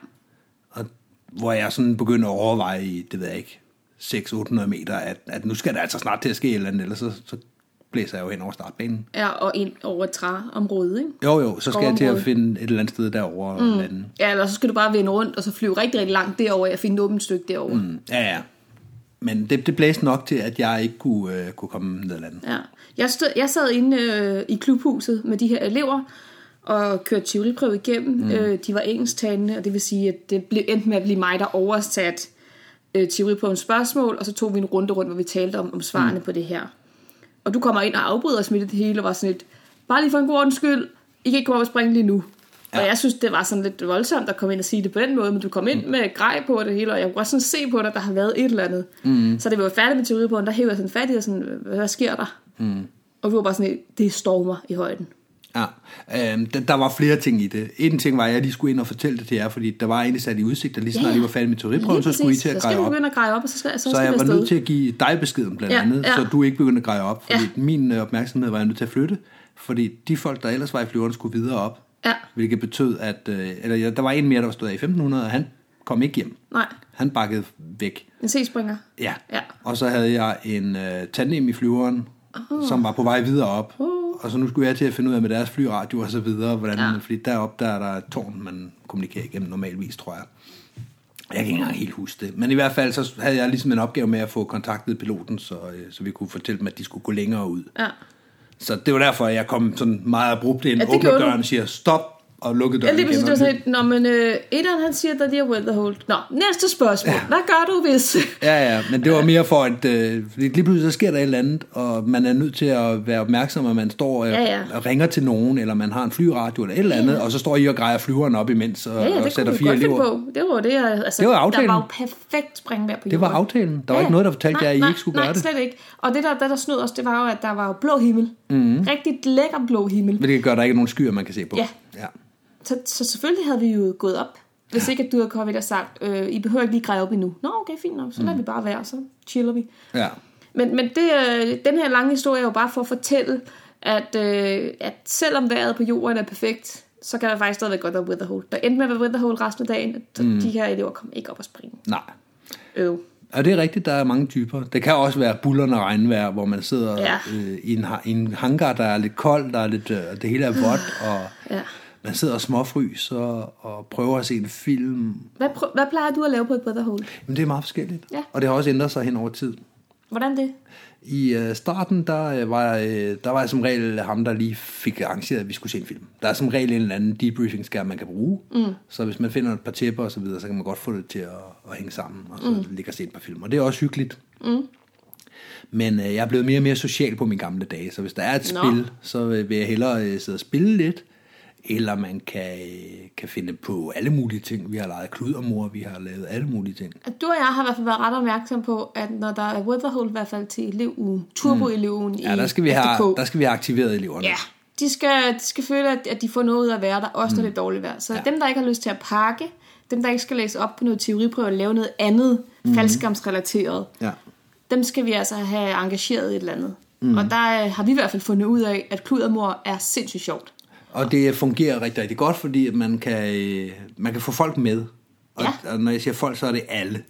Og hvor jeg sådan begynder at overveje i, det ved jeg ikke, 600-800 meter, at, at nu skal der altså snart til at ske et eller andet, ellers så, så blæser jeg jo hen over startbanen.
ja, og ind over et træområde, ikke?
Jo, jo, så skal jeg til at
Skovområde.
finde et eller andet sted derovre mm. lande.
Ja, eller så skal du bare vende rundt, og så flyve rigtig, rigtig langt derover og finde et åbent stykke
Mhm.
derover. Mm.
Ja, ja. Men det, det blæste nok til, at jeg ikke kunne, øh, kunne komme ned ad landet.
Ja. Jeg, stod, jeg sad inde øh, i klubhuset med de her elever og kørte tivoliprøve igennem. Mm. Øh, de var engelsktalende, og det vil sige, at det blev, endte med at blive mig, der oversat øh, tivoliprøvens spørgsmål, og så tog vi en runde rundt, hvor vi talte om, om svarene mm. på det her. Og du kommer ind og afbryder os midt i det hele og var sådan lidt, bare lige for en god ordens skyld, I kan ikke komme op og springe lige nu. Ja. Og jeg synes, det var sådan lidt voldsomt at komme ind og sige det på den måde, men du kom ind mm. med grej på det hele, og jeg kunne også sådan se på dig, der har været et eller andet. Mm. Så det var færdigt med teoribåden, der hævde jeg sådan fat i, og sådan, hvad sker der? Mm. Og du var bare sådan, det stormer i højden.
Ja, øhm, der, der var flere ting i det. En ting var, at jeg lige skulle ind og fortælle det til jer, fordi der var egentlig sat i udsigt, at lige snart
Ja,
yeah.
ja.
I var færdige med teoriprøven, så
Lige
skulle I
præcis.
til at
så skal
greje
du
op.
begynde at greje op, og så skal, så
Så
skal
jeg
vi
var
afsted.
nødt til at give dig beskeden blandt
Ja,
andet,
ja.
så du ikke begyndte at greje op, fordi
Ja.
min øh, opmærksomhed var jeg nødt til at flytte, fordi de folk, der ellers var i flyveren, skulle videre op,
Ja.
hvilket betød, at øh, eller, ja, der var en mere, der var stået af i 1500, og han kom ikke hjem.
Nej,
Han bakkede væk.
en C-springer.
Ja.
Ja.
Og så havde jeg en øh, tandem i flyveren,
Ah.
oh. som var på vej videre op. Oh. Og så nu skulle jeg til at finde ud af med deres flyradio og så videre, hvordan, ja.
Uh. Ja.
fordi deroppe der er der et tårn, man kommunikerer igennem normalvis, tror jeg. Jeg kan ikke engang helt huske det. Men i hvert fald så havde jeg ligesom en opgave med at få kontaktet piloten, så, øh, så vi kunne fortælle dem, at de skulle gå længere ud.
Ja.
Så det var derfor, at jeg kom sådan meget abrupt ind,
Ja,
ja,
det
åbner
gjorde du.
døren og siger stop, og lukker
Ja,
døren
lige præcis,
igen.
det
og
var sådan lidt, Nå, men øh, Edan, han siger, der de har weather hold. Nå, næste spørgsmål. Ja. Hvad gør du, hvis...
Ja, ja, men det var mere for, at øh, fordi lige pludselig så sker der et eller andet, og man er nødt til at være opmærksom, at man står øh,
Ja, ja.
og ringer til nogen, eller man har en flyradio eller et eller andet, ja. og så står I og grejer flyveren op imens, og,
Ja, ja,
og
det kunne
sætter
vi
fire
godt finde
elever.
på. Det var det, jeg, altså,
Det var aftalen.
Der var jo perfekt springvejr på jorden.
Det var aftalen. Der var ikke noget, der fortalte
nej,
jer, at I
nej,
ikke skulle
nej,
gøre det.
Nej, slet ikke. Og det, der, der, der snød os, det var jo, at der var jo blå himmel. Mm.
Mhm.
Rigtig lækker blå himmel.
Hvilket gør, at der ikke er nogen skyer, man kan se på.
Ja.
ja.
Så, så selvfølgelig havde vi jo gået op, hvis ikke at du havde kommet ind og sagt, øh, I behøver ikke lige græde op endnu. Nå, okay, fint nok. Så
Mhm.
lader mm. vi bare være, og så chiller vi.
ja.
Men, men det, øh, den her lange historie er jo bare for at fortælle, at, øh, at selvom vejret på jorden er perfekt, så kan der faktisk stadigvæk godt være weatherhole. Der endte med at være weatherhole resten af dagen, og
Mhm.
mm. de her elever kom ikke op og springe.
Nej.
Øv.
Og det er rigtigt, der er mange typer. Det kan også være bullerne regnvejr, hvor man sidder
Ja.
øh, i, en, ha- i en hangar, der er lidt kold, der er lidt, øh, det hele er vådt, og
Mm. Ja.
man sidder og småfryser og prøver at se en film.
Hvad, prø- hvad plejer du at lave på et weatherhole?
Men det er meget forskelligt,
Ja.
og det har også ændret sig hen over tid.
Hvordan det?
I øh, starten, der, øh, var, jeg, øh, der var jeg som regel ham, der lige fik arrangeret, at vi skulle se en film. Der er som regel en eller anden debriefing-skærm, man kan bruge. Mm. Så hvis man finder et par tæpper og så videre, så kan man godt få det til at, at hænge sammen, og så mm. ligge og se et par film. Og det er også hyggeligt. Mm. Men øh, jeg er blevet mere og mere social på mine gamle dage, så hvis der er et
Nå.
spil, så øh, vil jeg hellere øh, sidde og spille lidt, eller man kan, øh, kan finde på alle mulige ting. Vi har leget kludermor, vi har lavet alle mulige ting.
At du og jeg har i hvert fald været ret opmærksom på, at når der er weatherhole i hvert fald til elevugen, turbo-elevugen mm.
Ja,
i
der skal vi have,
FDK,
der skal vi have aktiveret eleverne.
Ja, de skal, de skal føle, at, at de får noget ud af at være der, også når det er dårligt vejr. Så ja. dem, der ikke har lyst til at pakke, dem, der ikke skal læse op på noget teoriprøve og lave noget andet mm. faldskærmsrelateret,
ja.
dem skal vi altså have engageret i et eller andet. Mm. Og der øh, har vi i hvert fald fundet ud af, at kludermor er sindssygt sjovt.
Og det fungerer rigtig, rigtig godt, fordi at man kan, øh, man kan få folk med. Og,
Ja.
og når jeg siger folk, så er det alle.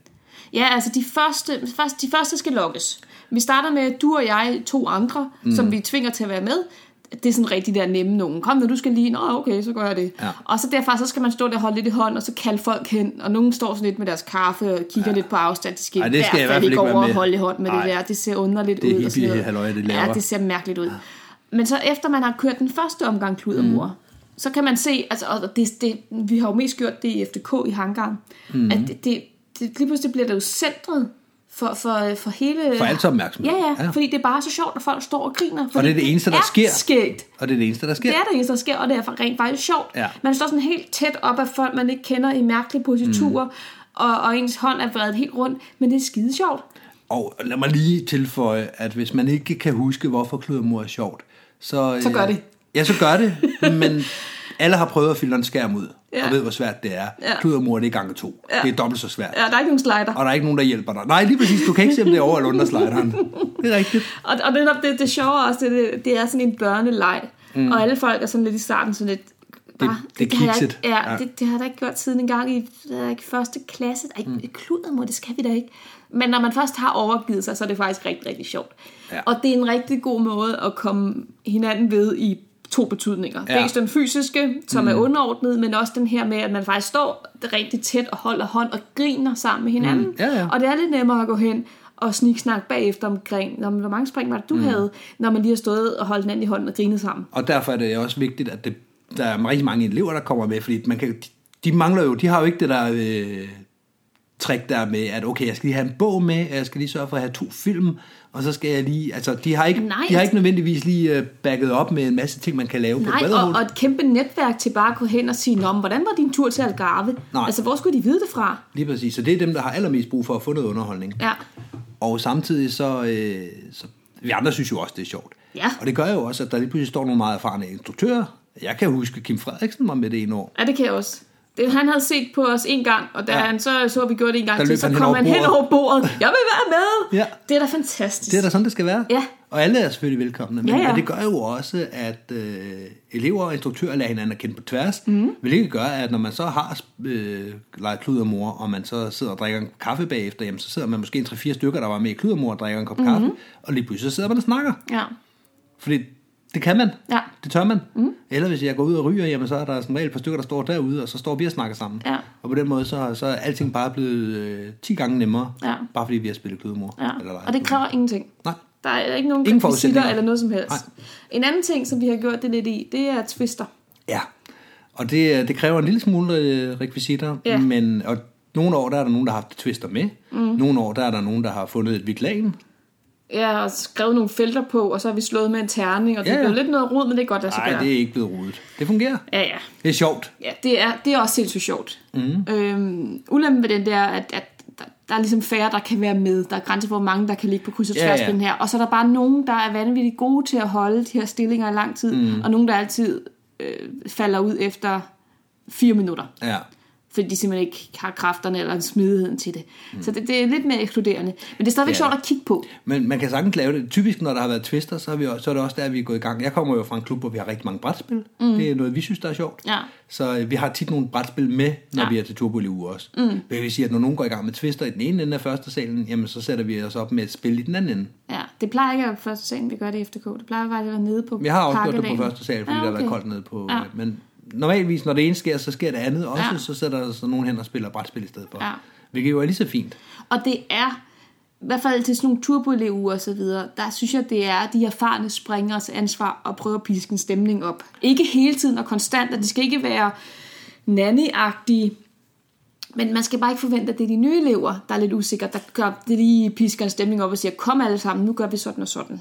Ja, altså de første, først, de første skal lokkes. Vi starter med du og jeg, to andre, mm. som vi tvinger til at være med. Det er sådan rigtig der nemme nogen. Kom nu, du skal lige. Nå, okay, så gør jeg det.
Ja.
Og så derfra, så skal man stå der og holde lidt i hånd, og så kalde folk hen. Og nogen står sådan lidt med deres kaffe og kigger ja. lidt på afstand. De skal
Ej,
Ej,
det skal jeg i hvert fald
ikke
ikke være
over og
med.
holde i hånd med
Ej.
det der. Det ser underligt
Det er
ud. og sådan noget.
hippiehalløj, det
Ja,
laver.
det ser mærkeligt ud. Men så efter man har kørt den første omgang kludermor, mm. så kan man se, altså, og det, det, vi har jo mest gjort det i FDK i hangaren, mm. at det, det, det, lige pludselig bliver det jo centret for, for, for hele...
For alles opmærksomhed.
Ja, ja,
Ja.
ja, fordi det er bare så sjovt, at folk står og griner. fordi
det er det eneste, der
er
sker.
skægt.
Og det er det eneste, der sker.
Det er det eneste, der sker, og det er rent faktisk sjovt.
Ja.
Man står sådan helt tæt op af folk, man ikke kender i mærkelige positurer, mm. og, og ens hånd er vredet helt rundt, men det er skide sjovt.
Og lad mig lige tilføje, at hvis man ikke kan huske, hvorfor kludermor er sjovt, så...
Så
øh,
gør det.
Ja, så gør det, men alle har prøvet at filtre en skærm ud, ja.
Ja.
og ved, hvor svært det er.
Ja.
Kludermor, det er gange to. Ja. Det er dobbelt så svært.
Ja, der er ikke nogen slider.
Og der er ikke nogen, der hjælper dig. Nej, lige præcis, du kan ikke se, om det er over eller under slideren. Det er rigtigt.
Og, og det, det, det sjove også, det, det, det er sådan en børneleg. Mm. Og alle folk er sådan lidt i starten sådan lidt... Bare,
det er
har jeg
kikset.
ikke, ja,
Ja.
ja. Det, det har jeg da ikke gjort siden engang i øh, ikke, første klasse. Ej, mm. kludret må, det skal vi da ikke. Men når man først har overgivet sig, så er det faktisk rigtig, rigtig sjovt.
Ja.
Ja. Og det er en rigtig god måde at komme hinanden ved i to betydninger.
Ja.
Ja. Dels den fysiske, som mm. er underordnet, men også den her med, at man faktisk står rigtig tæt og holder hånd og griner sammen med hinanden.
Mm. Ja, ja.
Og det er lidt nemmere at gå hen og sniksnakke bagefter omkring, når man, hvor mange spring var det, du mm. havde, når man lige har stået og holdt hinanden i hånden og grinet sammen.
Og derfor er det også vigtigt, at det, der er rigtig mange elever, der kommer med, fordi man kan, de mangler jo, de har jo ikke det der øh, trick der med, at okay, jeg skal lige have en bog med, og jeg skal lige sørge for at have to film, og så skal jeg lige, altså de har ikke,
Nej.
de har ikke nødvendigvis lige øh, backet op med en masse ting, man kan lave på
Nej,
et
og,
badehold.
og et kæmpe netværk til bare at gå hen og sige, Nå, men hvordan var din tur til Algarve?
Nej.
Altså, hvor skulle de vide det fra?
Lige præcis, så det er dem, der har allermest brug for at få noget underholdning.
Ja.
Og samtidig så, øh, så, vi andre synes jo også, det er sjovt.
Ja.
Og det gør jo også, at der lige pludselig står nogle meget erfarne instruktører. Jeg kan huske, Kim Frederiksen var med det ene år.
Ja, det kan jeg også. Det, han havde set på os en gang, og da
Ja.
ja. han så så, at vi gjorde det en gang
Der
til,
løb
så
han hen
kom
over
han hen
bordet.
over
[LAUGHS]
bordet. Jeg vil være med!
Ja.
Det er da fantastisk.
Det er da sådan, det skal være.
Ja.
Og alle er selvfølgelig velkomne. Men,
Ja, ja.
men det gør jo også, at øh, elever og instruktører lader hinanden at kende på tværs.
Mhm.
Mm. Hvilket gør, at når man så har øh, leget kludermor, og man så sidder og drikker en kop kaffe bagefter, jamen, så sidder man måske en 3-4 stykker, der var med i kludermor og drikker en
Mhm.
kop mm. kaffe. Og lige pludselig så sidder man og snakker.
Ja.
Fordi det kan man.
Ja. Mhm.
Det tør man. Mm. Eller hvis jeg går ud og ryger, jamen, så er der som regel et par stykker, der står derude, og så står vi og snakker sammen.
Ja.
Og på den måde, så, så er alting bare blevet øh, 10 gange nemmere,
Ja.
bare fordi vi har spillet kludermor.
ja.
Eller leget
Og det kræver ingenting.
Nej.
Der er ikke nogen
Ingen
rekvisitter
forudsætninger.
eller noget som helst.
Nej.
En anden ting, som vi har gjort det lidt i, det er twister.
Ja, og det, det kræver en lille smule øh, rekvisitter,
Ja.
men og nogle år der er der nogen, der har haft twister med. Mm. Nogle år der er der nogen, der har fundet et hvidt lagen.
Ja, og skrevet nogle felter på, og så har vi slået med en terning, og det
Ja,
ja.
ja.
blev lidt noget rod, men det er godt, der så
Nej, det er ikke blevet rodet. Det fungerer.
Ja, ja.
Det er sjovt.
Ja, det er, det er også sindssygt sjovt. Mm. Øhm, ulempen ved den der, at, at der, der er ligesom færre, der kan være med. Der er grænser for, hvor mange, der kan ligge på kryds og
Ja,
tværs ja,
ja.
ja. den her. Og så er der bare nogen, der er vanvittigt gode til at holde de her stillinger i lang tid, mm. og nogen, der altid øh, falder ud efter fire minutter,
Ja.
fordi de simpelthen ikke har kræfterne eller smidigheden til det. Mm. Så det, det er lidt mere ekskluderende. Men det er stadigvæk
Ja.
ja. sjovt at kigge på.
Men man kan sagtens lave det. Typisk, når der har været twister, så er, vi, også- så er det også der, vi er gået i gang. Jeg kommer jo fra en klub, hvor vi har rigtig mange brætspil. Mm. Det er noget, vi synes, der er sjovt.
Ja.
Så øh, vi har tit nogle brætspil med, når ja.
Ja.
vi er til Turbo uge også. Mm. Det vil sige, at når nogen går i gang med twister i den ene ende af første salen, jamen så sætter vi os op med et spil i den anden ende.
Ja, det plejer ikke at være første salen, vi gør det i FDK. Det plejer bare at være nede på Ah,
Jeg har også gjort det på
Parkadalen.
første sal, fordi ja, okay. der har været koldt nede på... Ja.
Ja.
Men normalvis, når det ene sker, så sker det andet også. Ja.
Ja.
Så sætter der så nogen hen og spiller brætspil i stedet for.
Ja.
Hvilket jo er lige så fint.
Og det er, i hvert fald til sådan nogle turboelever og så videre, der synes jeg, det er de erfarne springers ansvar at prøve at piske en stemning op. Ikke hele tiden og konstant, og det skal ikke være nanny-agtige, men man skal bare ikke forvente, at det er de nye elever, der er lidt usikre, der gør, det lige pisker en stemning op og siger, kom alle sammen, nu gør vi sådan og sådan.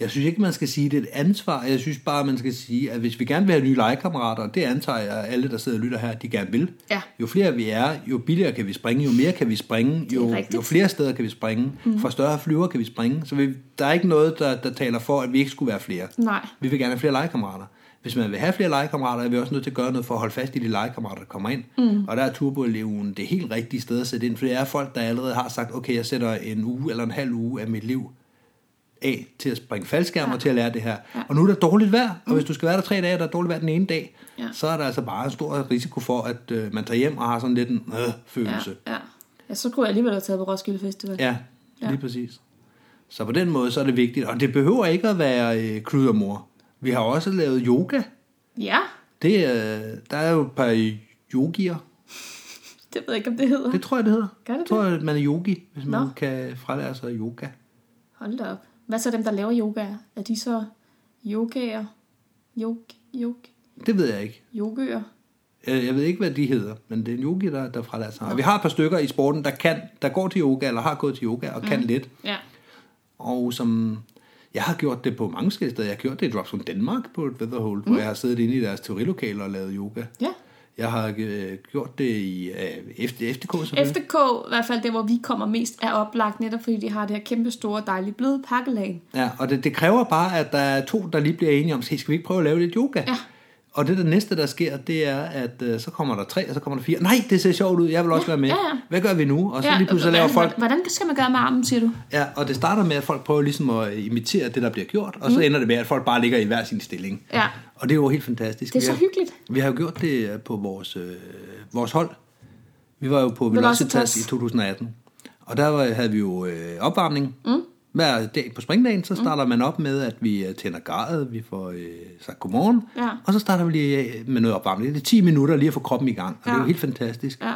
Jeg synes ikke, man skal sige, at det er et ansvar. Jeg synes bare, man skal sige, at hvis vi gerne vil have nye legekammerater, og det antager jeg, at alle, der sidder og lytter her, de gerne vil.
Ja.
Jo flere vi er, jo billigere kan vi springe, jo mere kan vi springe, jo,
rigtigt. Mhm.
jo flere steder kan vi springe, mm. fra større flyver kan vi springe. Så vi, der er ikke noget, der, der taler for, at vi ikke skulle være flere.
Nej.
Vi vil gerne have flere legekammerater. Hvis man vil have flere legekammerater, er vi også nødt til at gøre noget for at holde fast i de legekammerater, der kommer ind. Mm.
Mhm.
Og der er turboeleven det helt rigtige sted at sætte ind, for det er folk, der allerede har sagt, okay, jeg sætter en uge eller en halv uge af mit liv af til at springe faldskærm ja. og til at lære det her. Ja. Og nu er der dårligt vejr, og hvis du skal være der tre dage, og der er dårligt vejr den ene dag, ja.
Mm. Ja.
så er der altså bare en stor risiko for, at øh, man tager hjem og har sådan lidt en øh, følelse.
ja. ja, så kunne jeg alligevel have taget på Roskilde Festival.
Ja. ja,
Ja.
lige præcis. Så på den måde, så er det vigtigt. Og det behøver ikke at være øh, kludermor. Vi har også lavet yoga.
ja.
Det, øh, der er jo et par yogier.
det ved jeg ikke, om det hedder.
Det tror jeg, det hedder.
Gør det
jeg tror, at man er yogi, hvis man
Nå.
kan frelære sig yoga.
Hold da op. Hvad så dem, der laver yoga? Er de så yogaer? Yog, yog,
Det ved jeg ikke.
yogaer?
Øh, Jeg jeg ved ikke, hvad de hedder, men det er en yogi, der, der frelærer sig. Og vi har et par stykker i sporten, der kan, der går til yoga, eller har gået til yoga, og mm. kan lidt.
Ja.
Og som jeg har gjort det på mange forskellige steder. Jeg har gjort det i Drops from Denmark på et Weatherhold, mm. hvor jeg har siddet inde i deres teorilokaler og lavet yoga.
Ja.
Jeg har øh, gjort det i øh, FD, FDK selvfølgelig.
FDK, i hvert fald det, hvor vi kommer mest, er oplagt, netop fordi de har det her kæmpe store, dejlige bløde pakkelag.
Ja, og det, det kræver bare, at der er to, der lige bliver enige om, "Hey, skal vi ikke prøve at lave lidt yoga?
Ja.
Og det der næste, der sker, det er, at øh, så kommer der tre, og så kommer der fire. Nej, det ser sjovt ud, jeg vil også være med.
ja, ja.
Hvad gør vi nu? Og så lige pludselig laver
hvordan,
folk...
Hvordan skal man gøre med armen, siger du?
Ja, og det starter med, at folk prøver ligesom at imitere det, der bliver gjort, og så ender det med, at folk bare ligger i hver sin stilling.
Mm. Ja.
Og det er jo helt fantastisk.
Det er
Vi
så
har-
hyggeligt.
Vi har jo gjort det øh, på vores, øh, vores hold. Vi var jo på
Velocitas.
Velocitas i 2018, og der var, havde vi jo øh, opvarmning. Mm. Hver dag på springdagen, så starter mm. man op med, at vi øh, tænder grædet, vi får øh, sagt godmorgen,
Ja.
og så starter vi lige af med noget opvarmning. Det er 10 minutter lige at få kroppen i gang, og det er jo
Ja.
helt fantastisk.
Ja.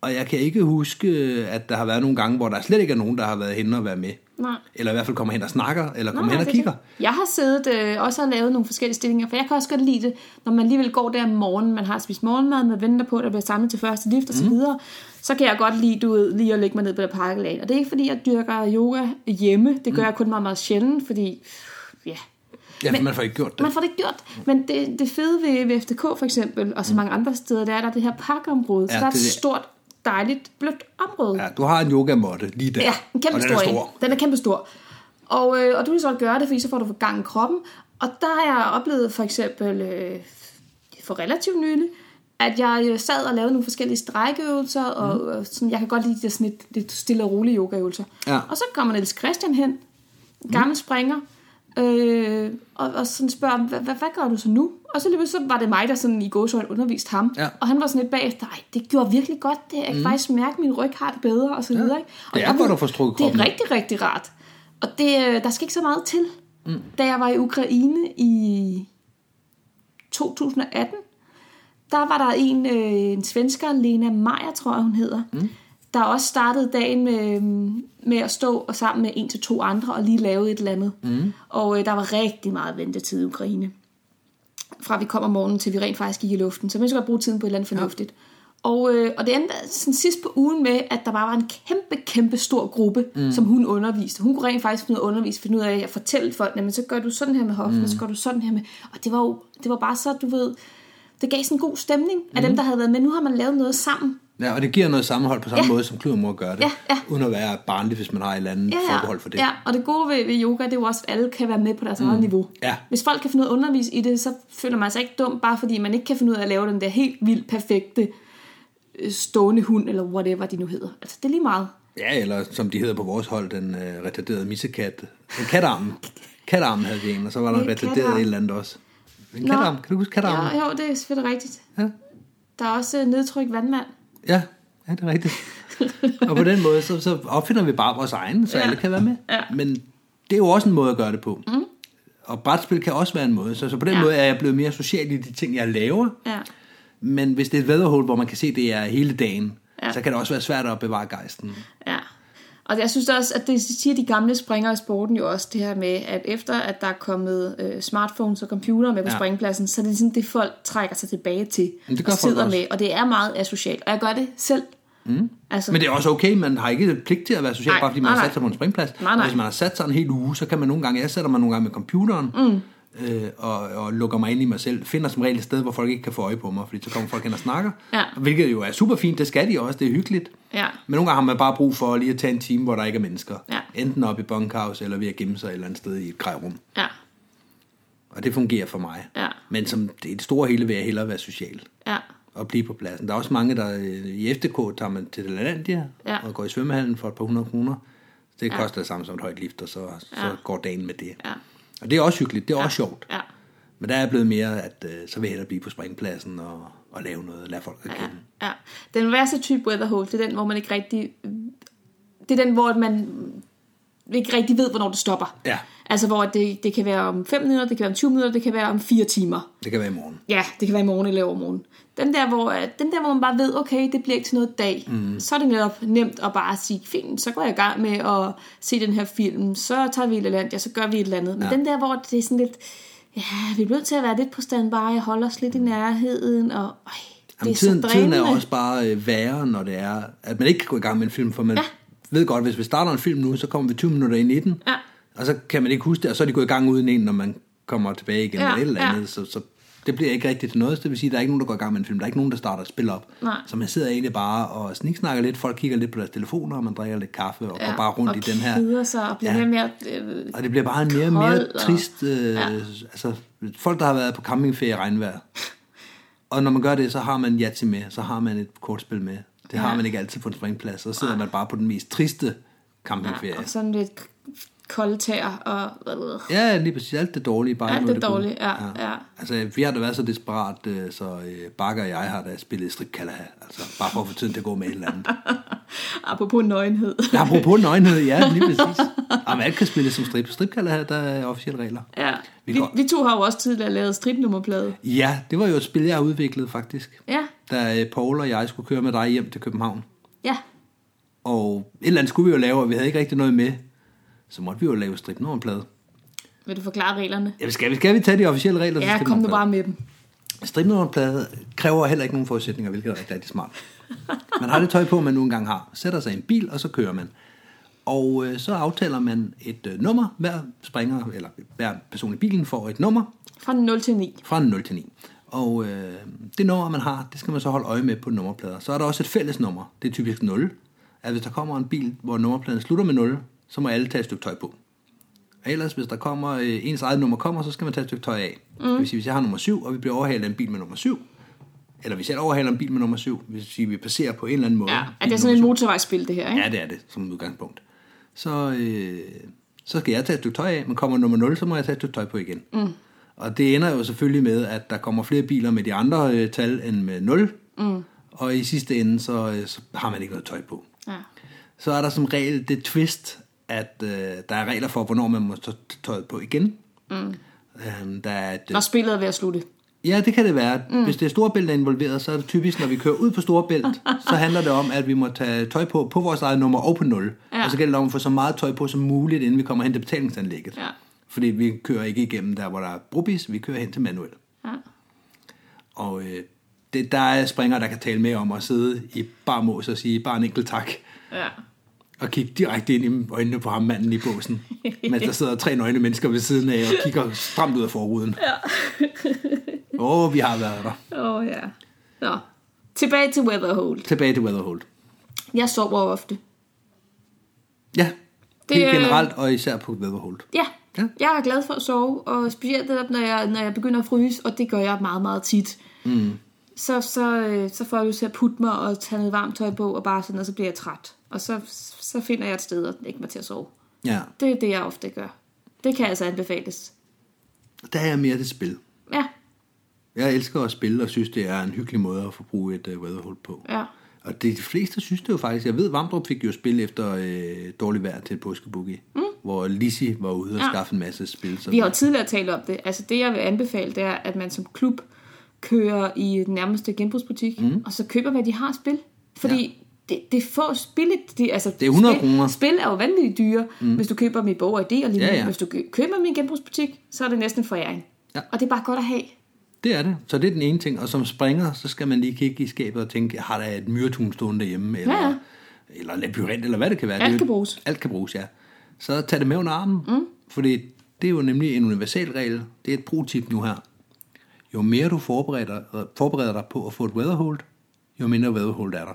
Og jeg kan ikke huske, at der har været nogle gange, hvor der slet ikke er nogen, der har været henne og været med.
Nej.
Eller i hvert fald kommer hen og snakker, eller kommer
Nej,
hen og
det er
kigger.
det. Jeg har siddet øh, også og lavet nogle forskellige stillinger, for jeg kan også godt lide det, når man alligevel går der om morgenen, man har spist morgenmad, man venter på, at der bliver samlet til første lift og så
Mhm.
videre, så kan jeg godt lide, du ved, lige at lægge mig ned på det parkelag. Og det er ikke fordi, jeg dyrker yoga hjemme, det
Mhm.
gør jeg kun meget, meget sjældent, fordi, ja,
Ja, men, man får ikke gjort det.
man får det ikke gjort. Men det, det fede ved, ved FDK for eksempel, og så mange andre steder, det er, at der er det her parkområde, så
Mhm. Ja,
der er
det
et
er det.
stort, dejligt, blødt område.
Ja, du har en yogamåtte lige der.
Ja, en kæmpe
og den
stor,
er
en.
stor.
Den er kæmpe stor. Og, øh, og du kan så godt gøre det, fordi så får du gang i kroppen. Og der har jeg oplevet for eksempel, øh, for relativt nylig, at jeg øh, sad og lavede nogle forskellige strækøvelser, og, mm. og sådan, jeg kan godt lide det sådan lidt, lidt stille og rolige yogaøvelser.
Ja.
Og så kommer Niels Christian hen, en gammel mm. springer, øh, og, og sådan spørger, "Hva- hva- hvad gør du så nu? Og så lige pludselig så var det mig, der sådan i gåsøjne underviste ham.
Ja.
Og han var sådan lidt bagefter, nej, det gjorde virkelig godt, det. jeg kan mm. faktisk mærke, at min ryg har det bedre, og så videre. Ikke? Og
Det er
der
godt
ved-
at få strukket kroppen.
Det er rigtig, rigtig rart. Og det, øh, der skal ikke så meget til. Mm. Da jeg var i Ukraine i 2018, der var der en, øh, en svensker, Lena Meyer, tror jeg hun hedder, mm. der også startede dagen med, øh, med at stå og sammen med en til to andre og lige lave et eller andet. Mm. Og øh, der var rigtig meget ventetid i Ukraine. Fra vi kom om morgenen til vi rent faktisk gik i luften. Så man skal godt bruge tiden på et eller andet fornuftigt. Og, øh, og det endte sådan sidst på ugen med, at der bare var en kæmpe, kæmpe stor gruppe, mm. som hun underviste. Hun kunne rent faktisk finde ud af at undervise, finde ud af at fortælle folk, men så gør du sådan her med hoften, mm. så gør du sådan her med... Og det var jo det var bare så, du ved, det gav sådan en god stemning af dem, der havde været med. Nu har man lavet noget sammen.
Ja, og det giver noget sammenhold på samme ja. måde, som kluddermor gør det.
Ja, ja.
Uden at være barnlig, hvis man har et eller andet ja, forbehold for det.
Ja, og det gode ved, ved yoga, det er jo også, at alle kan være med på deres mm. eget niveau.
Ja.
Hvis folk kan finde ud af at undervise i det, så føler man sig ikke dum, bare fordi man ikke kan finde ud af at lave den der helt vildt perfekte øh, stående hund, eller whatever de nu hedder. Altså, det er lige meget.
ja, eller som de hedder på vores hold, den øh, retarderede missekat. En katarm. katarm havde vi en, og så var der en
En
retarderet
katarm.
et eller andet også. En
Nå.
katarm. Kan du huske katarmen?
Ja, jo, det er selvfølgelig rigtigt.
Ja.
Der er også øh, nedtryk
[LAUGHS]
vandmand.
Ja, ja det er rigtigt. og på den måde, så, så opfinder vi bare vores egen, så
Ja.
ja. alle kan være med.
Ja.
Men det er jo også en måde at gøre det på. Mm. Og brætspil kan også være en måde. Så, så på den
Ja.
ja. måde er jeg blevet mere social i de ting, jeg laver.
Ja.
Men hvis det er et vædderhul, hvor man kan se, det er hele dagen,
Ja.
ja. så kan det også være svært at bevare gejsten.
Ja. Og jeg synes også, at det siger de gamle springere i sporten jo også, det her med, at efter at der er kommet øh, smartphones og computer med på ja.
Ja.
springpladsen, så er det sådan det, folk trækker sig tilbage til
Men det gør
og
folk
sidder
også.
med. Og det er meget asocialt. Og jeg gør det selv. Mm. Altså,
Men det er også okay, man har ikke pligt til at være social,
Nej,
nej, bare fordi man
nej,
har
nej.
sat sig på en springplads.
Nej, nej.
Og Hvis man har sat sig en hel uge, så kan man nogle gange, jeg sætter mig nogle gange med computeren, mm. øh, og, og lukker mig ind i mig selv, finder som regel et sted, hvor folk ikke kan få øje på mig, fordi så kommer folk hen og snakker,
Ja.
hvilket jo er super fint, det skal de også, det er hyggeligt.
Ja.
Men nogle gange har man bare brug for lige at tage en time, hvor der ikke er mennesker.
Ja.
Enten op i bunkhouse, eller ved at gemme sig et eller andet sted i et grejrum.
ja,
Og det fungerer for mig.
Ja.
Men som det, det store hele vil jeg hellere være social
ja,
og blive på pladsen. Der er også mange, der øh, i FDK tager man til Lalandia
Ja.
ja. og går i svømmehallen for et par hundrede kroner. Det koster det samme som et højt lift, og så, så
Ja.
går dagen med det.
Ja.
Og det er også hyggeligt, det er ja. også sjovt.
ja.
Men der er jeg blevet mere, at øh, så vil jeg hellere blive på springpladsen og, og lave noget, lade folk at
ja,
kende.
ja. Den værste type weatherhole, det er den, hvor man ikke rigtig... Det er den, hvor man ikke rigtig ved, hvornår det stopper.
Ja.
Altså, hvor det, det kan være om 5 minutter, det kan være om 20 minutter, det kan være om 4 timer.
Det kan være i morgen.
Ja, det kan være i morgen eller overmorgen. Den der, hvor, øh, den der, hvor man bare ved, okay, det bliver ikke til noget dag. Mm. Så er det netop nemt at bare sige, fint, så går jeg i gang med at se den her film, så tager vi et eller andet, ja, så gør vi et eller andet. Men ja. den der, hvor det er sådan lidt, ja, vi bliver nødt til at være lidt på standby, holde os lidt i nærheden, og øj, det
Jamen,
er
tiden,
så
tiden
drænende.
er også bare øh, værre, når det er, at man ikke kan gå i gang med en film, for man
Ja.
ja. ved godt, hvis vi starter en film nu, så kommer vi 20 minutter ind i den,
Ja.
og så kan man ikke huske det, og så er de gået i gang uden en, når man kommer tilbage igen
Ja,
eller et eller
ja.
andet, så, så det bliver ikke rigtigt til noget, så det vil sige, at der er ikke nogen, der går i gang med en film, der er ikke nogen, der starter et spil op,
Nej.
så man sidder egentlig bare og sniksnakker lidt, folk kigger lidt på deres telefoner, og man drikker lidt kaffe, og
Ja,
går bare rundt
og
i den her,
keder sig og bliver ja. mere... Øh,
og det bliver bare en mere og mere
Kold og-
trist, øh, ja. altså folk, der har været på campingferie i regnvejr, og når man gør det, så har man Yatzy med, så har man et kortspil med, det har
Ja.
man ikke altid på en springplads, så sidder man bare på den mest triste campingferie.
og sådan lidt kolde tæer og... Øh,
Ja, lige præcis. Alt det dårlige. Bare
Alt
noget,
det
gode.
dårlige, ja, ja.
Altså, vi har da været så desperat, øh, så øh, Bakker og jeg har da spillet strip Kalaha. Altså, bare for at få tiden til at gå med et eller
[LAUGHS]
andet.
apropos nøgenhed.
Jeg har på nøgenhed, ja, lige præcis. Jamen, alt kan spilles som strip. Strip Kalaha, der er officielle regler.
Ja.
Vi
Vi,
går-
vi to har jo også tidligere lavet stripnummerplade.
Ja, det var jo et spil, jeg udviklede faktisk.
Ja,
Da øh, Paul og jeg skulle køre med dig hjem til København.
ja,
Og et eller andet skulle vi jo lave, og vi havde ikke rigtig noget med. så måtte vi jo lave stripnummerplade.
Vil du forklare reglerne?
Jamen, skal vi, skal vi tage de officielle regler?
Ja, kom nu bare med dem.
Stripnummerplade kræver heller ikke nogen forudsætninger, hvilket er rigtig, rigtig smart. Man har det tøj på, man nu engang har. Sætter sig i en bil, og så kører man. Og øh, så aftaler man et øh, nummer. Hver springer, eller hver person i bilen får et nummer
Fra 0 til 9.
fra 0 til 9. Og øh, det nummer, man har, det skal man så holde øje med på nummerplader. Så er der også et fælles nummer. Det er typisk 0. At hvis der kommer en bil, hvor nummerpladen slutter med 0, så må alle tage et stykke tøj på. Og ellers, hvis der kommer, øh, ens eget nummer kommer, så skal man tage et stykke tøj af. Mm. Det vil sige, hvis jeg har nummer 7, og vi bliver overhalet af en bil med nummer 7, eller hvis jeg overhaler en bil med nummer 7, hvis sige, vi passerer på en eller anden måde.
Ja,
bil
at det er sådan en motorvejsspil, det her, ikke?
Ja, det er det, som udgangspunkt. Så, øh, så skal jeg tage et stykke tøj af, men kommer nummer 0, så må jeg tage et stykke tøj på igen. Mm. Og det ender jo selvfølgelig med, at der kommer flere biler med de andre øh, tal end med 0. Mm. Og i sidste ende, så, øh, så har man ikke noget tøj på.
Ja.
Så er der som regel det twist, at øh, der er regler for, hvornår man må tage tøjet på igen. Mm. Øhm, der er et,
Når spillet er ved at slutte.
Ja, det kan det være. Mm. Hvis det er storebælt, der er involveret, så er det typisk, når vi kører ud på
[LAUGHS]
storebælt, så handler det om, at vi må tage tøj på på vores eget nummer og på 0. Ja.
Ja.
Og så gælder det om at få så meget tøj på som muligt, inden vi kommer hen til betalingsanlægget.
Ja.
Fordi vi kører ikke igennem der, hvor der er brobis, vi kører hen til manuel.
Ja.
Og øh, det, der er springer, der kan tale med om at sidde i bar mås og sige bare en enkelt tak.
ja.
Og kigge direkte ind i øjnene på ham, manden i
[LAUGHS]
båsen. mens der sidder tre nøgne mennesker ved siden af og kigger stramt ud af forruden. Åh, ja. oh, vi har været der.
Åh, oh, ja. Nå. Tilbage til Weatherhold.
Tilbage til Weatherhold.
Jeg sover ofte.
Ja, det,
Det,
helt
øh,
generelt, og især på Weatherhold.
Ja.
Ja.
Jeg er glad for at sove, og specielt netop, når jeg, når jeg begynder at fryse, og det gør jeg meget, meget tit. Mm. Så, så, øh, så får jeg lyst til at putte mig og tage noget varmt tøj på, og bare sådan, og så bliver jeg træt. Og så, så finder jeg et sted at lægge mig til at sove.
Ja,
Det er det, jeg ofte gør. Det kan altså anbefales.
der er jeg mere til spil.
Ja,
Jeg elsker at spille, og synes, det er en hyggelig måde at få brug et uh, Weatherhold på.
ja.
Og det, de fleste synes det jo faktisk. Jeg ved, Vamdrup fik jo spil efter øh, dårligt vejr til påskeboogie, mm. hvor Lisi var ude og
Ja.
skaffe en masse spil. Så
Vi har jo tidligere talt om det. Altså det, jeg vil anbefale, det er, at man som klub kører i den nærmeste genbrugsbutik,
Mhm.
mm. og så køber, hvad de har at spille. Fordi ja. det, det får spillet... Det, altså,
Det er 100
spil,
kroner. Mhm.
Spil er jo vanvittigt dyre, mm. hvis du køber dem i Borg ID og lige
Ja,
ja,
ja.
ja. Hvis du kø- køber dem i en genbrugsbutik, så er det næsten en foræring.
Ja.
Og det er bare godt at have.
Det er det. Så det er den ene ting. Og som springer, så skal man lige kigge i skabet og tænke, har der et myretun stående derhjemme? Eller,
Ja, ja.
eller labyrint, eller hvad det kan være.
Alt
Det er jo-
kan bruges.
Alt kan bruges, ja. Så tag det med under armen. Mm. Fordi det er jo nemlig en universal regel. Det er et pro-tip nu her. Jo mere du forbereder, forbereder dig på at få et weatherhold, jo mindre weatherhold er der.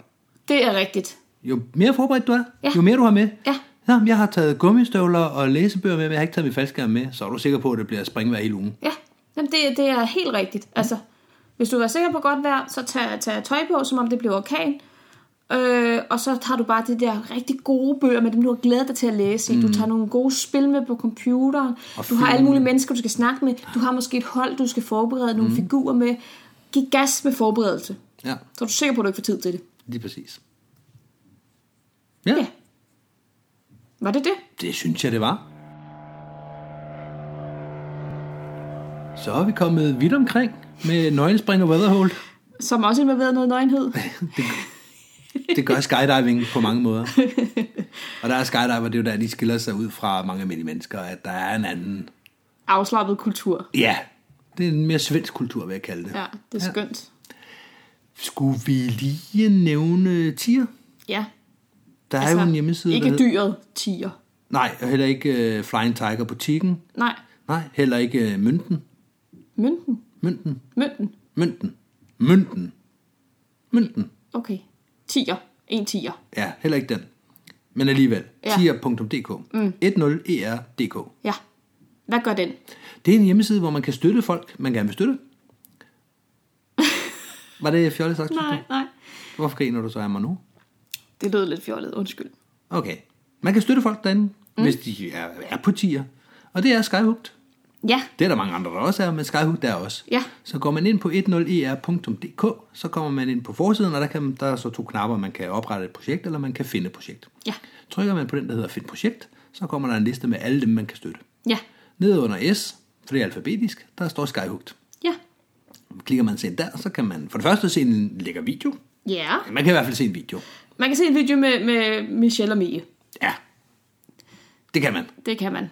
Det er rigtigt.
Jo mere forberedt du er,
Ja.
jo mere du har med.
Ja.
Nå, men jeg har taget gummistøvler og læsebøger med, men jeg har ikke taget min faldskærm med, så er du sikker på, at det bliver springvejr hele ugen.
Ja, Jamen, det, det er helt rigtigt. Altså, hvis du er sikker på godt vejr, så tag, tag tøj på, som om det bliver orkan. Øh, og så tager du bare de der rigtig gode bøger med dem, du har glædet dig til at læse. Mm. Du tager nogle gode spil med på computeren.
Og
Og du har alle
film.
mulige mennesker, du skal snakke med. Du har måske et hold, du skal forberede nogle mm. figurer med. Giv gas med forberedelse.
Ja,
Så er du sikker på, at du ikke får tid til det.
lige præcis. Ja,
Ja. Var det det?
det synes jeg, det var. Så er vi kommet vidt omkring med nøgenspring og weatherhold.
Som også involverede noget nøgenhed.
Det gør skydiving på mange måder. Og der er skydiver, det er jo der, de skiller sig ud fra mange almindelige mennesker, at der er en anden...
Afslappet kultur.
Ja, det er en mere svensk kultur, vil jeg kalde det.
Ja, det er skønt.
Skulle vi lige nævne tier?
Ja.
Der altså, er jo en hjemmeside, der
Ikke
hedder-
dyret, tiger.
Nej, og heller ikke uh, Flying Tiger butikken.
Nej,
Nej, heller ikke uh, Mynten.
Mønten.
Mynten.
Mønten.
Mynten. Mynten. Mynten.
Okay. Tiger. En tiger.
Ja, heller ikke den. Men alligevel.
Ja.
Tier.dk. Mm. 10er.dk.
Ja. Hvad gør den?
Det er en hjemmeside, hvor man kan støtte folk, man gerne vil
[LAUGHS]
støtte. Var det fjollet sagt? synes du?
Nej, nej.
Hvorfor griner du så af mig nu?
Det lød lidt fjollet, undskyld.
Okay. Man kan støtte folk derinde, mm. hvis de er, er på tier. Og det er Skyhooked.
Ja,
Det er der mange andre, der også er, men Skyhook der er også.
Ja.
Så går man ind på E 10er.dk, så kommer man ind på forsiden, og der, kan, der er så to knapper, man kan oprette et projekt, eller man kan finde et projekt.
Ja.
Trykker man på den, der hedder Find projekt, så kommer der en liste med alle dem, man kan støtte.
ja,
Nede under S, for det er alfabetisk, der står Skyhooked.
ja.
Klikker man sen der, så kan man for det første se en lækker video.
Ja.
Man kan i hvert fald se en video.
Man kan se en video med, med Michelle og Mie.
Ja. Det kan man.
Det kan man.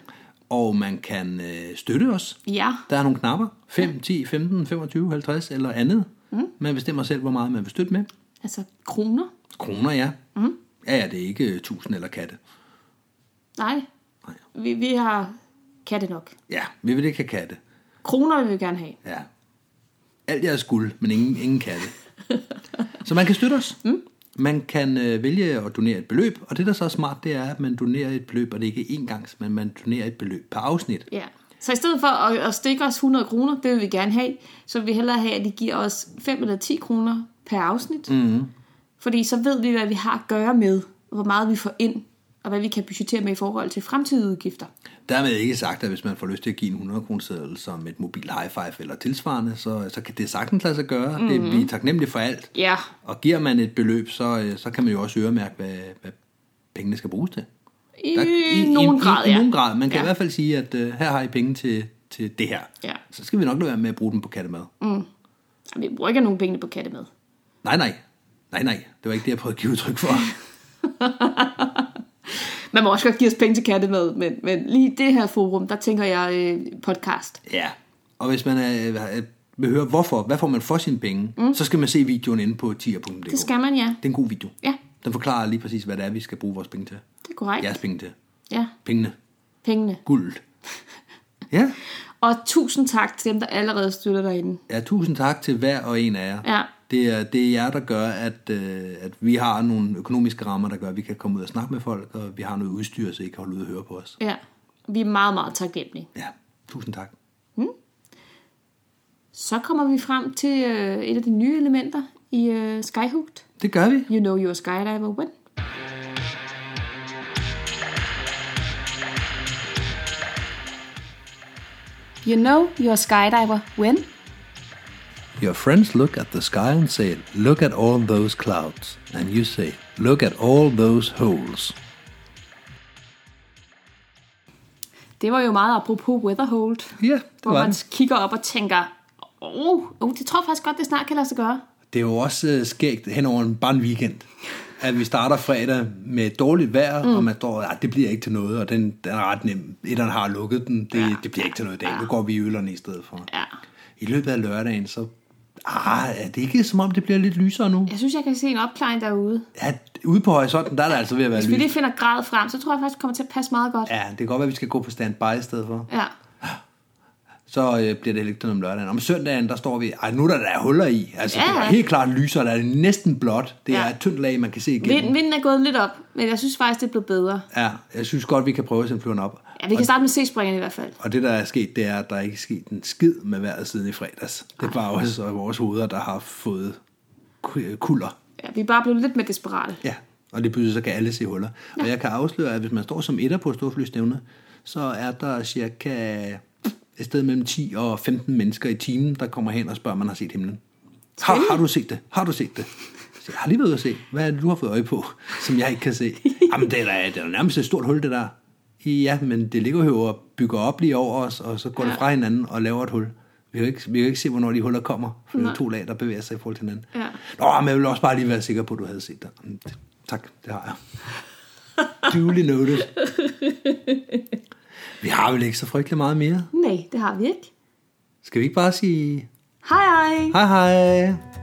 Og man kan øh, støtte os.
Ja,
Der er nogle knapper. 5, 10, 15, 25, 50 eller andet. Mm. Man bestemmer selv, hvor meget man vil støtte med.
altså kroner.
Kroner, ja. Mm. Ja, ja, det er ikke øh, tusind eller katte.
Nej,
Nej.
vi, vi har katte nok.
Ja, vi vil ikke have katte.
Kroner vil vi gerne have.
Ja. Alt jeres guld, men ingen, ingen katte. så man kan støtte os. Mm. Man kan øh, vælge at donere et beløb, og det, der så er smart, det er, at man donerer et beløb, og det er ikke én gang, men man donerer et beløb per afsnit.
Ja. Så i stedet for at, at stikke os 100 kroner, det vil vi gerne have, så vil vi hellere have, at de giver os 5 eller 10 kroner per afsnit. Mm-hmm. Fordi så ved vi, hvad vi har at gøre med, og hvor meget vi får ind, og hvad vi kan budgettere med i forhold til fremtidige udgifter.
Dermed ikke sagt, at hvis man får lyst til at give en 100 kroner som et mobil high five eller tilsvarende, så, så kan det sagtens lade sig gøre. Mm-hmm. Det, vi er taknemmelige for alt.
Ja,
Og giver man et beløb, så, øh, så kan man jo også øremærke, hvad, hvad pengene skal bruges til.
i, i nogen grad,
i,
ja.
I nogen grad. Man kan
Ja.
ja. i hvert fald sige, at øh, her har I penge til, til det her.
Ja.
Så skal vi nok lade være med at bruge dem på kattemad. Mm.
Jamen, vi bruger ikke nogen penge på katte med.
Nej, nej. Nej, nej. Det var ikke det, jeg prøvede at give udtryk
[LAUGHS]
for.
Man må også godt give os penge til katte med, men, men lige i det her forum, der tænker jeg øh, podcast.
ja. Og hvis man øh, øh, vil høre, hvorfor, hvad får man for sine penge, mm. så skal man se videoen inde på tier.dk.
Det skal man, ja.
Det er en god video.
Ja,
Den forklarer lige præcis, hvad det er, vi skal bruge vores penge til.
det er korrekt.
Jeres penge til.
ja.
Pengene.
pengene. [LAUGHS]
Guld. Ja.
Og tusind tak til dem, der allerede støtter derinde.
Ja, tusind tak til hver og en af jer.
Ja.
Det, er, det er jer, der gør, at, øh, at vi har nogle økonomiske rammer, der gør, at vi kan komme ud og snakke med folk, og vi har noget udstyr, så I kan holde ud og høre på os.
Ja, vi er meget, meget taknemmelige.
Ja, tusind tak.
Så kommer vi frem til øh, et af de nye elementer i øh, Skyhooked.
Det gør vi.
You know you're a skydiver when. You know you're a skydiver when.
Your friends look at the sky and say, look at all those clouds. And you say, look at all those holes.
Det var jo meget apropos Weatherhold.
Ja, det
hvor
var
man
det.
kigger op og tænker, åh, oh, oh, det tror jeg faktisk godt, det snart kan lade sig gøre.
Det er jo også øh, skægt hen over en, bare en weekend, at vi starter fredag med dårligt vejr, mm. og man står, at det bliver ikke til noget, og den, den er ret nem. Etteren har lukket den, det, ja. det bliver ikke til noget i dag. Ja. Nu går vi i ølerne i stedet for.
Ja.
I løbet af lørdagen, så ah, er det ikke som om, det bliver lidt lysere nu.
Jeg synes, jeg kan se en opklaring derude.
Ja, ude på horisonten, der er det altså ved at være
Hvis vi
lys.
lige finder grad frem, så tror jeg faktisk, det kommer til at passe meget godt.
Ja, det kan godt være, at vi skal gå på standby i stedet for.
ja.
Så øh, bliver det heller ikke til noget om lørdagen. Om søndagen, der står vi, ej, nu er der, der er huller i. Altså,
Ja.
det er helt klart lysere, der er næsten blåt. Det er
Ja.
et tyndt lag, man kan se igennem.
Vind, vinden er gået lidt op, men jeg synes faktisk, det er blevet bedre.
Ja, jeg synes godt, vi kan prøve at sende flyveren op.
Ja, vi kan starte med C-springerne i hvert fald.
Og det, der er sket, det er, at der ikke er sket en skid med vejret siden i fredags. Det var også vores hoveder, der har fået ku- kulder.
Ja, vi er bare blevet lidt mere desperate.
Ja, og lige pludselig så kan alle se huller. Ja. Og jeg kan afsløre, at hvis man står som etter på et storflystævne, så er der cirka et sted mellem 10 og 15 mennesker i timen, der kommer hen og spørger, om man har set himlen. Har, har du set det? Har du set det? Så jeg har lige været ude at se. Hvad er det, du har fået øje på, som jeg ikke kan se? Jamen, det er da, det er da nærmest et stort hul, det der. Ja, men det ligger jo og bygger op lige over os, og så går ja. det fra hinanden og laver et hul. Vi kan jo ikke, vi kan jo ikke se, hvornår de huller kommer, for det er jo to lag, der bevæger sig i forhold til hinanden.
Ja.
Nå, men jeg ville også bare lige være sikker på, at du havde set det. Mm, det- Tak, det har jeg. Duly noted. Vi har vel ikke så frygtelig meget mere.
Nej, det har vi ikke.
Skal vi ikke bare sige
Hej hej!
hej hej?